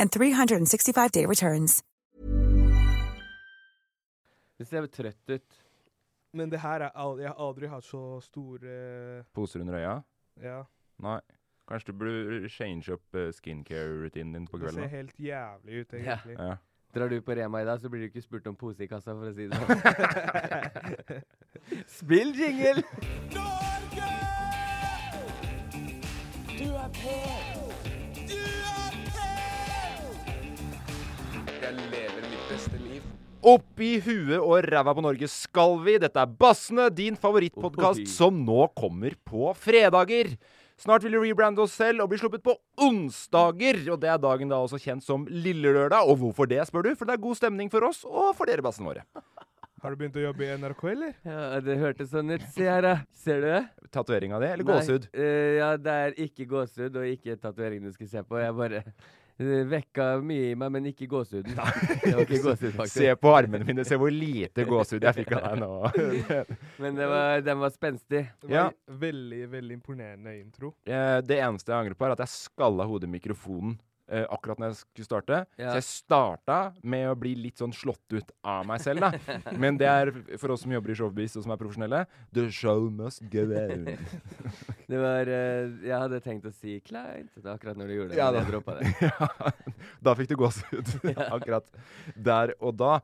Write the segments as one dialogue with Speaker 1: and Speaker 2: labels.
Speaker 1: and 365-day returns.
Speaker 2: Du ser trøtt ut.
Speaker 3: Men det her er aldri, Jeg har aldri hatt så store
Speaker 2: Poser under øya?
Speaker 3: Ja.
Speaker 2: Nei. Kanskje du burde change up eh, skincare-rutinen din på
Speaker 3: Det ser
Speaker 2: kvelden? da?
Speaker 3: helt jævlig ut,
Speaker 4: Ja.
Speaker 3: egentlig.
Speaker 2: Ja.
Speaker 4: Drar du på Rema i dag, så blir du ikke spurt om pose i kassa, for å si det sånn. Spill jingle!
Speaker 5: Opp i huet og ræva på Norge skal vi. Dette er Bassene, din favorittpodkast
Speaker 4: Oi.
Speaker 5: som nå kommer på fredager. Snart vil vi rebrande oss selv og bli sluppet på onsdager. Og det er dagen da også kjent som Lillelørdag. Og hvorfor det, spør du? For det er god stemning for oss og for dere, bassene våre.
Speaker 3: Har du begynt å jobbe i NRK, eller?
Speaker 4: Ja, det hørtes sånn ut. Se her, da. Ser du det?
Speaker 5: Tatoveringa di, eller
Speaker 4: Nei,
Speaker 5: gåsehud?
Speaker 4: eh, ja, det er ikke gåsehud og ikke tatoveringen du skulle se på. Jeg bare eh, vekka mye i meg, men ikke gåsehuden. Det var ikke gåsehud, faktisk.
Speaker 5: Se på armene mine, se hvor lite gåsehud jeg fikk av deg nå.
Speaker 4: Men det var, den var spenstig.
Speaker 3: Det
Speaker 5: Ja.
Speaker 3: var en Veldig, veldig imponerende intro.
Speaker 5: Eh, det eneste jeg angrer på, er at jeg skalla hodet i mikrofonen eh, akkurat når jeg skulle starte.
Speaker 4: Ja.
Speaker 5: Så jeg starta med å bli litt sånn slått ut av meg selv, da. Men det er for oss som jobber i showbiz og som er profesjonelle The show must go on.
Speaker 4: Det var eh, Jeg hadde tenkt å si kleint det var akkurat når du gjorde det.
Speaker 5: Ja
Speaker 4: men
Speaker 5: da.
Speaker 4: jeg droppa det.
Speaker 5: Ja, da fikk du gåsehud. Akkurat der og da.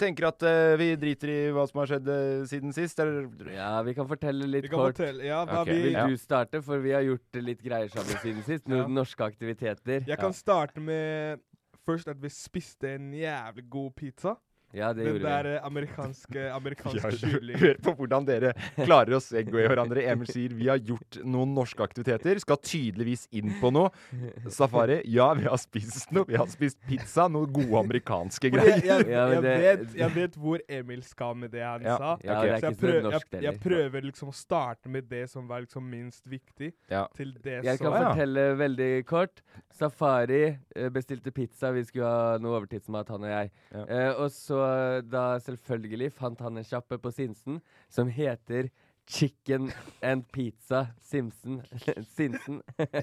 Speaker 5: Tenker at eh, vi driter i hva som har skjedd eh, siden sist. Eller
Speaker 4: Ja, vi kan fortelle litt
Speaker 3: Vi kan
Speaker 4: kort.
Speaker 3: fortelle Ja, hva
Speaker 5: Ok,
Speaker 3: vi
Speaker 4: Vil
Speaker 5: Ja.
Speaker 4: du starte? For vi har gjort litt greier sammen siden sist. Noen norske aktiviteter.
Speaker 3: Jeg kan starte med først at vi spiste en jævlig god pizza.
Speaker 4: Ja, det
Speaker 3: Den
Speaker 4: gjorde
Speaker 3: der
Speaker 4: vi.
Speaker 3: eh, amerikanske,
Speaker 5: Ja,
Speaker 3: amerikanske
Speaker 5: hør
Speaker 3: kylling.
Speaker 5: hør på hvordan dere klarer å segwaye hverandre. Emil sier vi har gjort noen norske aktiviteter, skal tydeligvis inn på noe. Safari, ja, vi har spist noe. Vi har spist pizza, noen gode amerikanske
Speaker 3: Fordi Jeg, jeg,
Speaker 5: greier.
Speaker 4: Ja, men
Speaker 3: jeg,
Speaker 4: det-
Speaker 3: vet, jeg vet hvor Emil skal med det han
Speaker 5: Ja.
Speaker 3: sa.
Speaker 4: Ja,
Speaker 5: Ok.
Speaker 4: det er
Speaker 3: Så jeg
Speaker 4: ikke så
Speaker 3: prøver,
Speaker 4: norsk
Speaker 3: jeg, jeg
Speaker 4: heller.
Speaker 3: prøver liksom å starte med det som var liksom minst viktig,
Speaker 5: Ja.
Speaker 3: til det
Speaker 4: Jeg kan
Speaker 3: som
Speaker 5: ja.
Speaker 4: fortelle veldig kort. Safari eh, bestilte pizza. Vi skulle ha noe overtidsmat, han og jeg.
Speaker 5: Ja.
Speaker 4: Eh, og så da selvfølgelig fant han en sjappe på Sinsen som heter Chicken and Pizza Simsen. Sinsen.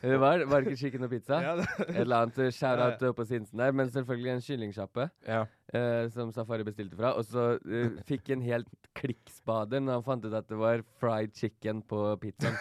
Speaker 4: Det var, var det ikke chicken og pizza?
Speaker 3: Ja, det-
Speaker 4: Et eller annet eh, shout-out
Speaker 3: Ja,
Speaker 4: på Sinsen der. Men selvfølgelig en kyllingsjappe.
Speaker 5: Ja.
Speaker 4: eh, som Safari bestilte fra. Og så eh, fikk en helt klikkspader når han fant ut at det var fried chicken på pizzaen.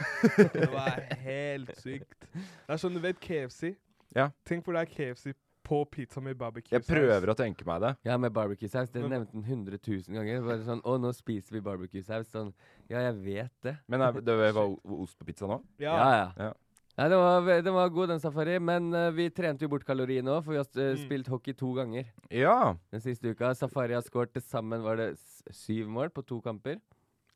Speaker 3: Det var helt sykt. Det er sånn, du vet KFC?
Speaker 5: Ja.
Speaker 3: Tenk hvor det er KFC på pizza med barbecue
Speaker 5: Jeg prøver å tenke meg det.
Speaker 4: Ja, med barbecue-saus. Det
Speaker 3: Men-
Speaker 4: nevnte han 100 000 ganger. Bare sånn 'Å, nå spiser vi barbecue-saus'. Sånn Ja, jeg vet det.
Speaker 5: Men er, det var o- ost på pizza nå?
Speaker 3: Ja,
Speaker 4: Ja, ja.
Speaker 5: Ja.
Speaker 4: Nei, den var, ve- den var god, den safari. Men eh, vi trente jo bort kaloriene òg, for vi har eh,
Speaker 5: Mm.
Speaker 4: spilt hockey to ganger
Speaker 5: Ja.
Speaker 4: den siste uka. Safari har skåret til sammen var det s- syv mål på to kamper.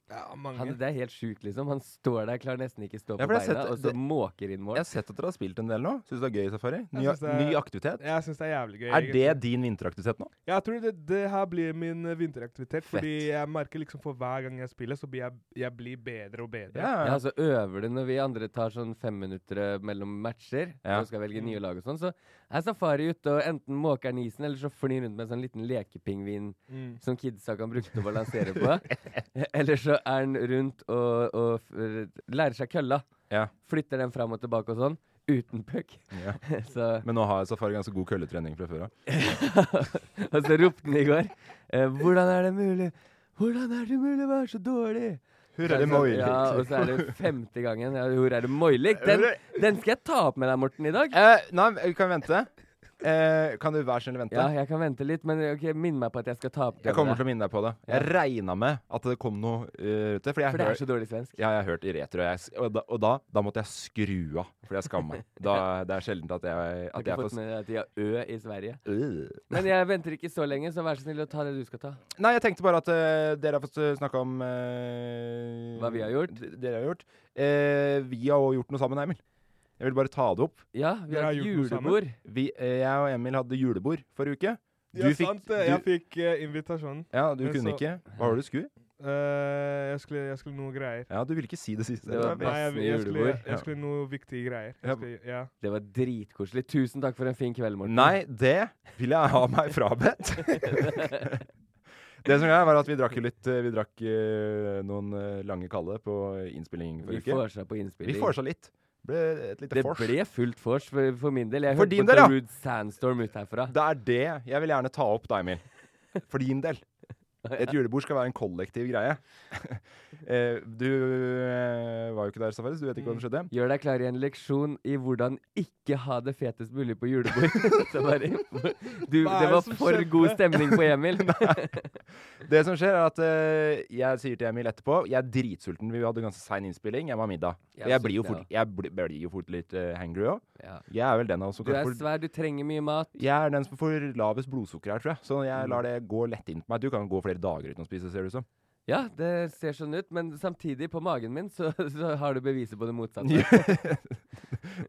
Speaker 3: ja mange.
Speaker 4: Han, det er helt sjukt, liksom. Han står der, klarer nesten ikke stå
Speaker 5: Ja,
Speaker 4: på
Speaker 5: for jeg har
Speaker 4: beina,
Speaker 5: sett-
Speaker 4: og så
Speaker 5: det-
Speaker 4: måker inn mål.
Speaker 5: Jeg har sett at dere har spilt en del nå. Syns du det er gøy, Safari?
Speaker 3: Jeg
Speaker 5: Ny,
Speaker 3: synes det er-
Speaker 5: ny aktivitet?
Speaker 3: Jeg syns det er jævlig gøy.
Speaker 5: Er det
Speaker 3: egentlig.
Speaker 5: din vinteraktivitet nå?
Speaker 3: Jeg tror det, det her blir min eh, vinteraktivitet. Fordi jeg merker liksom for hver gang jeg spiller, så blir jeg, jeg blir bedre og bedre.
Speaker 4: Ja, så øver du når vi andre tar sånn femminuttere mellom matcher
Speaker 5: Ja.
Speaker 4: og skal velge nye lag og sånn, så er safari ute og enten måker den isen, eller så flyr den rundt med en sånn liten lekepingvin
Speaker 5: Mm.
Speaker 4: som kidsa kan bruke til å balansere på. eller så er den rundt og, og f- lærer seg kølla.
Speaker 5: Ja.
Speaker 4: Flytter den fram og tilbake og sånn. Uten puck.
Speaker 5: Ja.
Speaker 4: så,
Speaker 5: Men nå har Safari ganske god kølletrening fra før av.
Speaker 4: og så ropte den i går. Eh, hvordan er det mulig? Hvordan er det mulig å være så dårlig?
Speaker 5: Hurra,
Speaker 4: Så- Ja, og så er det femte gangen. Ja, hvor er det moilik? Den, den skal jeg ta opp med deg, Morten, i dag.
Speaker 5: Eh, nei, vi kan vente. Eh, kan du være snill vente?
Speaker 4: Ja, jeg kan vente litt, men ok, minn meg på at jeg skal ta opp det.
Speaker 5: Jeg kommer til å minne deg på det.
Speaker 4: Ja.
Speaker 5: Jeg regna med at det kom noe eh, ute. Fordi jeg
Speaker 4: For det
Speaker 5: hør-
Speaker 4: er så dårlig svensk.
Speaker 5: Ja, jeg har hørt i retro, og, jeg, s- og, da, og da, da måtte jeg skru av, fordi jeg skammer meg. Da, det er sjelden at jeg,
Speaker 4: Har ikke
Speaker 5: at jeg
Speaker 4: fått
Speaker 5: får s-
Speaker 4: med deg at de har Ø i Sverige.
Speaker 5: Øh.
Speaker 4: Men jeg venter ikke så lenge, så vær så snill å ta det du skal ta.
Speaker 5: Nei, jeg tenkte bare at eh, dere har fått eh, snakka om eh,
Speaker 4: Hva vi har gjort.
Speaker 5: d- Dere har gjort. Eh, vi har også gjort noe sammen, Emil. Jeg vil bare ta det opp.
Speaker 4: Ja, vi
Speaker 3: Dere
Speaker 4: har
Speaker 3: har
Speaker 4: et
Speaker 3: gjort noe sammen.
Speaker 4: julebord.
Speaker 5: Vi, eh, jeg og Emil hadde julebord forrige uke.
Speaker 3: Ja,
Speaker 5: fikk-
Speaker 3: sant det. Jeg
Speaker 5: du-
Speaker 3: fikk eh, invitasjonen.
Speaker 5: Ja, du
Speaker 3: Men
Speaker 5: kunne
Speaker 3: så-
Speaker 5: ikke. Hva var det du skulle?
Speaker 3: Eh, jeg, skulle, jeg skulle noe greier.
Speaker 5: Ja, du ville ikke si det siste.
Speaker 4: Det var
Speaker 5: Jeg vet.
Speaker 3: Nei, jeg,
Speaker 4: Masse
Speaker 3: jeg, skulle,
Speaker 4: julebord,
Speaker 5: ja.
Speaker 3: jeg skulle noe viktige greier.
Speaker 5: Ja.
Speaker 3: Jeg skulle, ja.
Speaker 4: Det var dritkoselig. Tusen takk for en fin kveld, Morten.
Speaker 5: Nei, det vil jeg ha meg frabedt. det som greia var at vi drakk jo litt eh, Vi drakk eh, noen eh, lange kalde på innspilling
Speaker 4: Vi
Speaker 5: forrige uke.
Speaker 4: får seg på innspilling.
Speaker 5: Vi forsa litt. Ble et lite
Speaker 4: det
Speaker 5: fors.
Speaker 4: ble fullt vors for, for min del. Jeg
Speaker 5: For
Speaker 4: hørte
Speaker 5: din
Speaker 4: på
Speaker 5: del, ja.
Speaker 4: The Rude Sandstorm ut herfra.
Speaker 5: Det er det jeg vil gjerne ta opp da, Emil. For din del. Et julebord skal være en kollektiv greie. Eh, du eh, var jo ikke der, Safaris. Du vet ikke hva som skjedde.
Speaker 4: Gjør deg klar i en leksjon i hvordan ikke ha det fetest mulig på julebord. Så bare, du,
Speaker 3: Hva er
Speaker 4: det
Speaker 3: det
Speaker 4: var
Speaker 3: som
Speaker 4: for
Speaker 3: skjedde?
Speaker 4: god stemning på Emil.
Speaker 5: Det som skjer, er at eh, jeg sier til Emil etterpå Jeg er dritsulten. Vi hadde ganske sein innspilling. Jeg må ha middag.
Speaker 4: Jeg
Speaker 5: Og
Speaker 4: er
Speaker 5: jeg blir jo
Speaker 4: sulten,
Speaker 5: fort, jeg bli- blir jo fort litt eh, hangry òg.
Speaker 4: Ja.
Speaker 5: Jeg er vel den av oss som
Speaker 4: Du er
Speaker 5: kanskje får-
Speaker 4: svær, du trenger mye mat.
Speaker 5: Jeg er den som får lavest blodsukker her, tror jeg. Så
Speaker 4: Mm.
Speaker 5: jeg lar det gå lett inn på meg. Du kan gå flere dager uten å spise, ser det ut som.
Speaker 4: Ja, det ser sånn ut, men samtidig, på magen min, så, så har du beviset på det motsatte.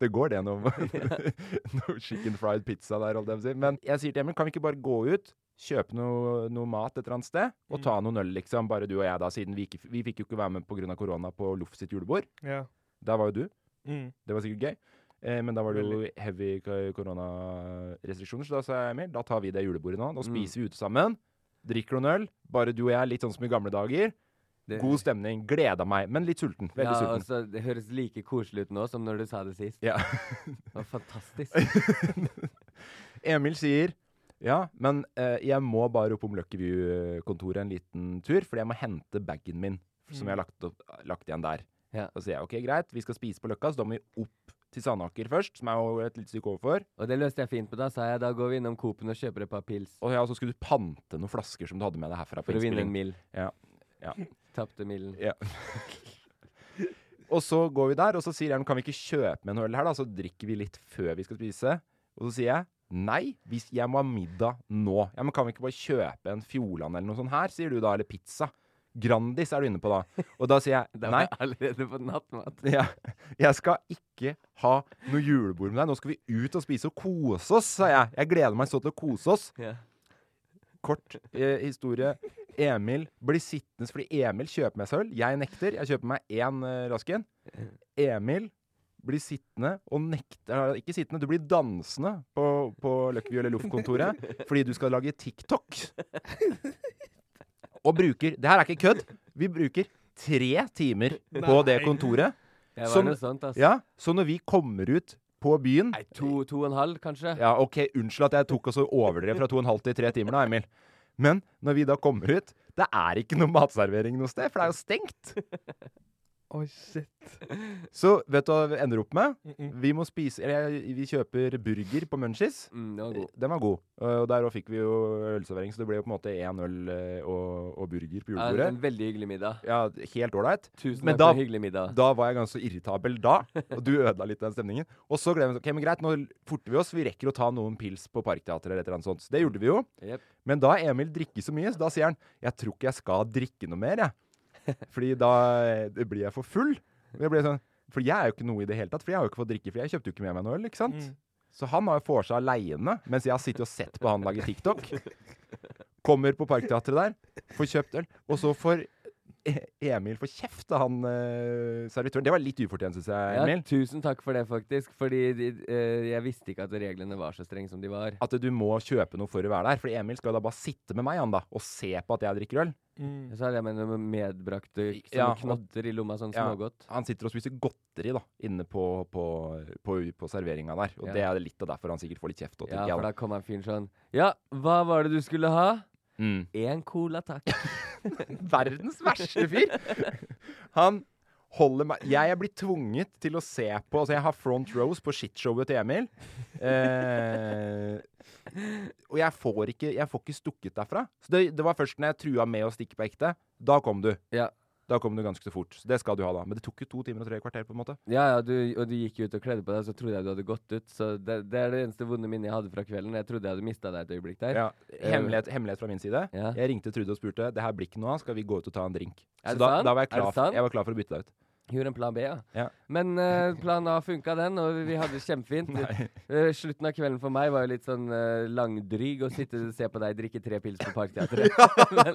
Speaker 5: det går det noe noe chicken fried pizza der, holdt jeg på å si. Men jeg sier til Emil, kan vi ikke bare gå ut, kjøpe noe, noe mat et eller annet sted, og ta
Speaker 4: Mm.
Speaker 5: noen øl, liksom, bare du og jeg, da, siden vi, ikke, vi fikk jo ikke være med pga. korona på Loff sitt julebord.
Speaker 3: ja.
Speaker 5: Der var jo du.
Speaker 3: Mm.
Speaker 5: Det var sikkert gøy. Eh, men da var det jo heavy k- koronarestriksjoner, så da sa jeg Emil, da tar vi det julebordet nå.
Speaker 4: Mm.
Speaker 5: Nå spiser vi ute sammen. Drikker noen øl. Bare du og jeg, litt sånn som i gamle dager.
Speaker 4: Det-
Speaker 5: God stemning. Gleda meg, men litt sulten.
Speaker 4: Eh.
Speaker 5: Veldig
Speaker 4: ja,
Speaker 5: sulten.
Speaker 4: altså, det høres like koselig ut nå som når du sa det sist.
Speaker 5: Ja.
Speaker 4: Det var fantastisk.
Speaker 5: Emil sier ja, men eh, jeg må bare opp om Luckyview-kontoret en liten tur, fordi jeg må hente bagen min
Speaker 4: Mm.
Speaker 5: som jeg har lagt, opp, lagt igjen der.
Speaker 4: Ja.
Speaker 5: Da sier jeg ok, greit, vi skal spise på Løkka, så da må vi opp til Sandaker først, som er jo et lite stykke overfor.
Speaker 4: Og det løste jeg fint på. Da sa jeg da går vi innom Coop-en og kjøper et par pils
Speaker 5: Og ja, så skulle du pante noen flasker som du hadde med deg herfra. på
Speaker 4: for å vinne en mil.
Speaker 5: innspilling. Ja. Ja.
Speaker 4: Tapte milen.
Speaker 5: Ja. og så går vi der, og så sier jeg kan vi ikke kjøpe med en øl her, da? Så drikker vi litt før vi skal spise. Og så sier jeg nei, hvis jeg må ha middag nå. Ja, men kan vi ikke bare kjøpe en Fjordland eller noe sånt her, sier du da, eller pizza? Grandis er du inne på da. Og da sier jeg
Speaker 4: Da var
Speaker 5: nei.
Speaker 4: jeg allerede på nattmat.
Speaker 5: Ja, jeg skal ikke ha noe julebord med deg. Nå skal vi ut og spise og kose oss, sa jeg. Jeg gleder meg så til å kose oss
Speaker 4: Ja.
Speaker 5: kort eh, historie. Emil blir sittende fordi Emil kjøper meg seg øl. Jeg nekter. Jeg kjøper meg én eh, Rasken. Emil blir sittende og nekter eh, Ikke sittende, du blir dansende på, på Løkkeby eller Loff-kontoret fordi du skal lage TikTok. Og bruker Det her er ikke kødd. Vi bruker tre timer på det
Speaker 3: Nei.
Speaker 5: kontoret.
Speaker 4: Jeg var
Speaker 5: Som-
Speaker 4: noe sånt, altså.
Speaker 5: Ja, Så når vi kommer ut på byen
Speaker 4: Nei, to, to og en halv, kanskje.
Speaker 5: ja, OK, unnskyld at jeg tok og så overdrev fra to og en halv til tre timer, da, Emil. Men når vi da kommer ut, det er ikke noe matservering noe sted, for det er jo stengt.
Speaker 3: Oi, shit.
Speaker 5: Så vet du hva vi ender opp med? Vi må spise Eller jeg- vi kjøper burger på Munchies.
Speaker 4: Mm, det var god.
Speaker 5: Den var god. Og der òg fikk vi jo ølservering, så det ble jo på en måte én øl eh, og, og burger på
Speaker 4: Ja, en
Speaker 5: julebordet.
Speaker 4: veldig hyggelig middag.
Speaker 5: Ja, helt ålreit.
Speaker 4: Tusen
Speaker 5: Men
Speaker 4: takk for
Speaker 5: da-
Speaker 4: en hyggelig middag.
Speaker 5: Da var jeg ganske irritabel da, og du ødela litt den stemningen. Og så glemte jeg Ok, men greit, nå forter vi oss. Vi rekker å ta noen pils på Parkteatret eller et eller annet sånt. Så Det gjorde vi jo.
Speaker 4: Jep.
Speaker 5: Men da har Emil drikket så mye, så da sier han Jeg tror ikke jeg skal drikke noe mer, jeg. Fordi da eh, blir jeg for full. Og Jeg blir sånn, for jeg er jo ikke noe i det hele tatt, for jeg har jo ikke fått drikke, for jeg kjøpte jo ikke med meg noe øl, ikke sant? Så han har jo for seg aleine, mens jeg har sittet og sett på han lage TikTok. Kommer på Parkteatret der, får kjøpt øl, og så får E- Emil får kjeft av han eh, servitøren. Det var litt ufortjent, syns jeg,
Speaker 4: Ja,
Speaker 5: Emil.
Speaker 4: tusen takk for det, faktisk. Fordi de, eh, jeg visste ikke at reglene var så strenge som de var.
Speaker 5: At du må kjøpe noe for å være der. For Emil skal da bare sitte med meg han da og se på at jeg drikker øl.
Speaker 4: Så hadde jeg med noe medbrakt eh, sånne
Speaker 5: Ja, og-
Speaker 4: knotter i lomma, sånn
Speaker 5: Ja.
Speaker 4: smågodt.
Speaker 5: Han sitter og spiser godteri da inne på, på, på, på serveringa der. Og
Speaker 4: Ja.
Speaker 5: det er litt av derfor han sikkert får litt kjeft. Og,
Speaker 4: Ja,
Speaker 5: tenker jeg,
Speaker 4: for
Speaker 5: da.
Speaker 4: da kom han fyren sånn Ja, hva var det du skulle ha?
Speaker 5: Mm.
Speaker 4: Én cola, takk.
Speaker 5: Verdens verste fyr. Han holder meg Jeg er blitt tvunget til å se på Altså, jeg har front rows på shitshowet til Emil. Eh, og jeg får, ikke, jeg får ikke stukket derfra. Så det, det var først når jeg trua med å stikke på ekte. Da kom du.
Speaker 4: Ja.
Speaker 5: Da kom du ganske så fort. Så det skal du ha, da. Men det tok jo to timer og tre kvarter, på en måte.
Speaker 4: Ja, ja, du, og du gikk jo ut og kledde på deg, så trodde jeg du hadde gått ut. Så det, det er det eneste vonde minnet jeg hadde fra kvelden. Jeg trodde jeg hadde mista deg et øyeblikk der.
Speaker 5: Ja. Hemmelighet, hemmelighet fra min side.
Speaker 4: eh, Ja.
Speaker 5: Jeg ringte Trude og spurte Det her blir ikke noe av, skal vi gå ut og ta en drink?
Speaker 4: Er det
Speaker 5: så da,
Speaker 4: sant?
Speaker 5: da var
Speaker 4: Er
Speaker 5: jeg
Speaker 4: det
Speaker 5: klar,
Speaker 4: sant?
Speaker 5: jeg var klar for å bytte deg ut.
Speaker 4: Gjorde en plan B, ja.
Speaker 5: Ja.
Speaker 4: Men eh, plan A funka, den, og vi hadde det kjempefint. Eh, slutten av kvelden for meg var jo litt sånn eh, langdryg å sitte og se på deg drikke tre pils på Parkteatret. men,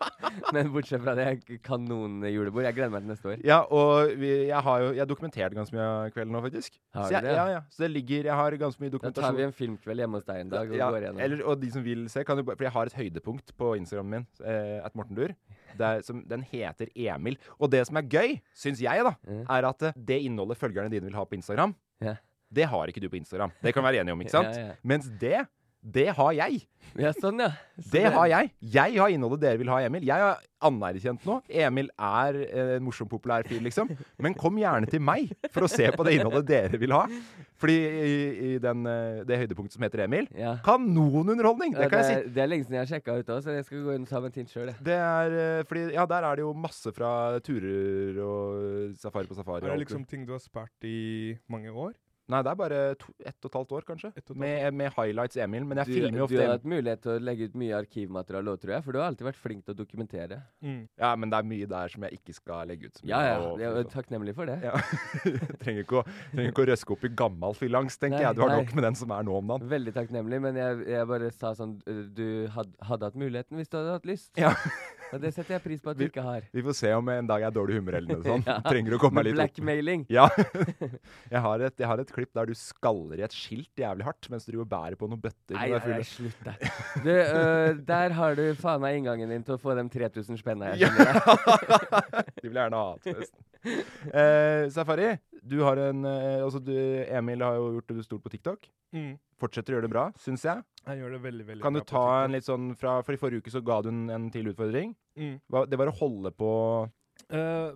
Speaker 4: men bortsett fra det, kanonjulebord. Jeg gleder meg til neste år.
Speaker 5: Ja, og vi, jeg har jo jeg har dokumentert ganske mye av kvelden nå, faktisk.
Speaker 4: Har
Speaker 5: så jeg,
Speaker 4: du det?
Speaker 5: Ja, ja. Så det ligger Jeg har ganske mye
Speaker 4: Da tar
Speaker 5: dokumentasjon.
Speaker 4: vi en filmkveld hjemme hos deg en dag og
Speaker 5: ja,
Speaker 4: går igjennom.
Speaker 5: eller, og de som vil se, kan jo bare For jeg har et høydepunkt på Instagramen min, eh, at Morten Dur. Der, som, den heter Emil. Og det som er gøy, syns jeg, da, er at eh, det innholdet følgerne dine vil ha på Instagram,
Speaker 4: Ja.
Speaker 5: det har ikke du på Instagram. Det kan vi være enige om, ikke sant?
Speaker 4: Ja, ja.
Speaker 5: Mens det, det har jeg.
Speaker 4: Ja, sånn, ja. Så
Speaker 5: Det har jeg. Jeg har innholdet dere vil ha, Emil. Jeg er anerkjent nå. Emil er eh, en morsom, populær fyr, liksom. Men kom gjerne til meg for å se på det innholdet dere vil ha. Fordi i, i den, eh, det høydepunktet som heter Emil
Speaker 4: Ja.
Speaker 5: Kanonunderholdning!
Speaker 4: Ja,
Speaker 5: Det kan jeg si.
Speaker 4: er- det er lenge siden jeg har sjekka ut òg, så jeg skal gå inn og ta meg en titt sjøl.
Speaker 5: Det er eh, fordi Ja, der er det jo masse fra turer og safari på safari.
Speaker 3: Er
Speaker 5: og
Speaker 3: det
Speaker 5: alt
Speaker 3: liksom ting du har spart i mange år?
Speaker 5: Nei, det er bare to, ett og et halvt år, kanskje.
Speaker 3: Ett og et halvt
Speaker 5: Med, med highlights Emil. Men jeg
Speaker 4: Du,
Speaker 5: filmer jo
Speaker 4: du har
Speaker 5: ofte Emil.
Speaker 4: hatt mulighet til å legge ut mye arkivmateriale òg, tror jeg. For du har alltid vært flink til å dokumentere.
Speaker 3: Mm,
Speaker 5: Ja, men det er mye der som jeg ikke skal legge ut. som
Speaker 4: Ja,
Speaker 5: jeg
Speaker 4: ja.
Speaker 5: må-
Speaker 4: Jeg er takknemlig for det.
Speaker 5: Ja. trenger, ikke å, trenger ikke å røske opp i gammel fylangst, tenker
Speaker 4: Nei,
Speaker 5: jeg. Du har
Speaker 4: nei.
Speaker 5: nok med den som er nå om dagen.
Speaker 4: Veldig takknemlig, men jeg, jeg bare sa sånn øh, Du had, hadde hatt muligheten hvis du hadde hatt lyst.
Speaker 5: Ja.
Speaker 4: Og det setter jeg pris på at du ikke har.
Speaker 5: Vi får se om en dag jeg er dårlig i humør eller noe sånt. Trenger å komme
Speaker 4: Men
Speaker 5: meg litt opp.
Speaker 4: blackmailing.
Speaker 5: Ja. Jeg har, et, jeg har et klipp der du skaller i et skilt jævlig hardt mens du driver og bærer på noen bøtter.
Speaker 4: Nei,
Speaker 5: når du
Speaker 4: nei,
Speaker 5: er full.
Speaker 4: nei, slutt deg. Du, øh, der har du faen meg inngangen din til å få de 3000 spenna jeg skjønner deg.
Speaker 5: De vil gjerne ha det, forresten. Eh, Safari, du har en eh, altså du, Emil har jo gjort det stort på TikTok.
Speaker 3: Mm.
Speaker 5: Fortsetter å gjøre det bra, syns jeg.
Speaker 3: Han gjør det veldig, veldig
Speaker 5: Kan du
Speaker 3: bra på
Speaker 5: ta en
Speaker 3: TikTok.
Speaker 5: litt sånn fra For i forrige uke så ga du en, en til utfordring.
Speaker 3: Mm.
Speaker 5: Hva- Det var å holde på
Speaker 3: Eh,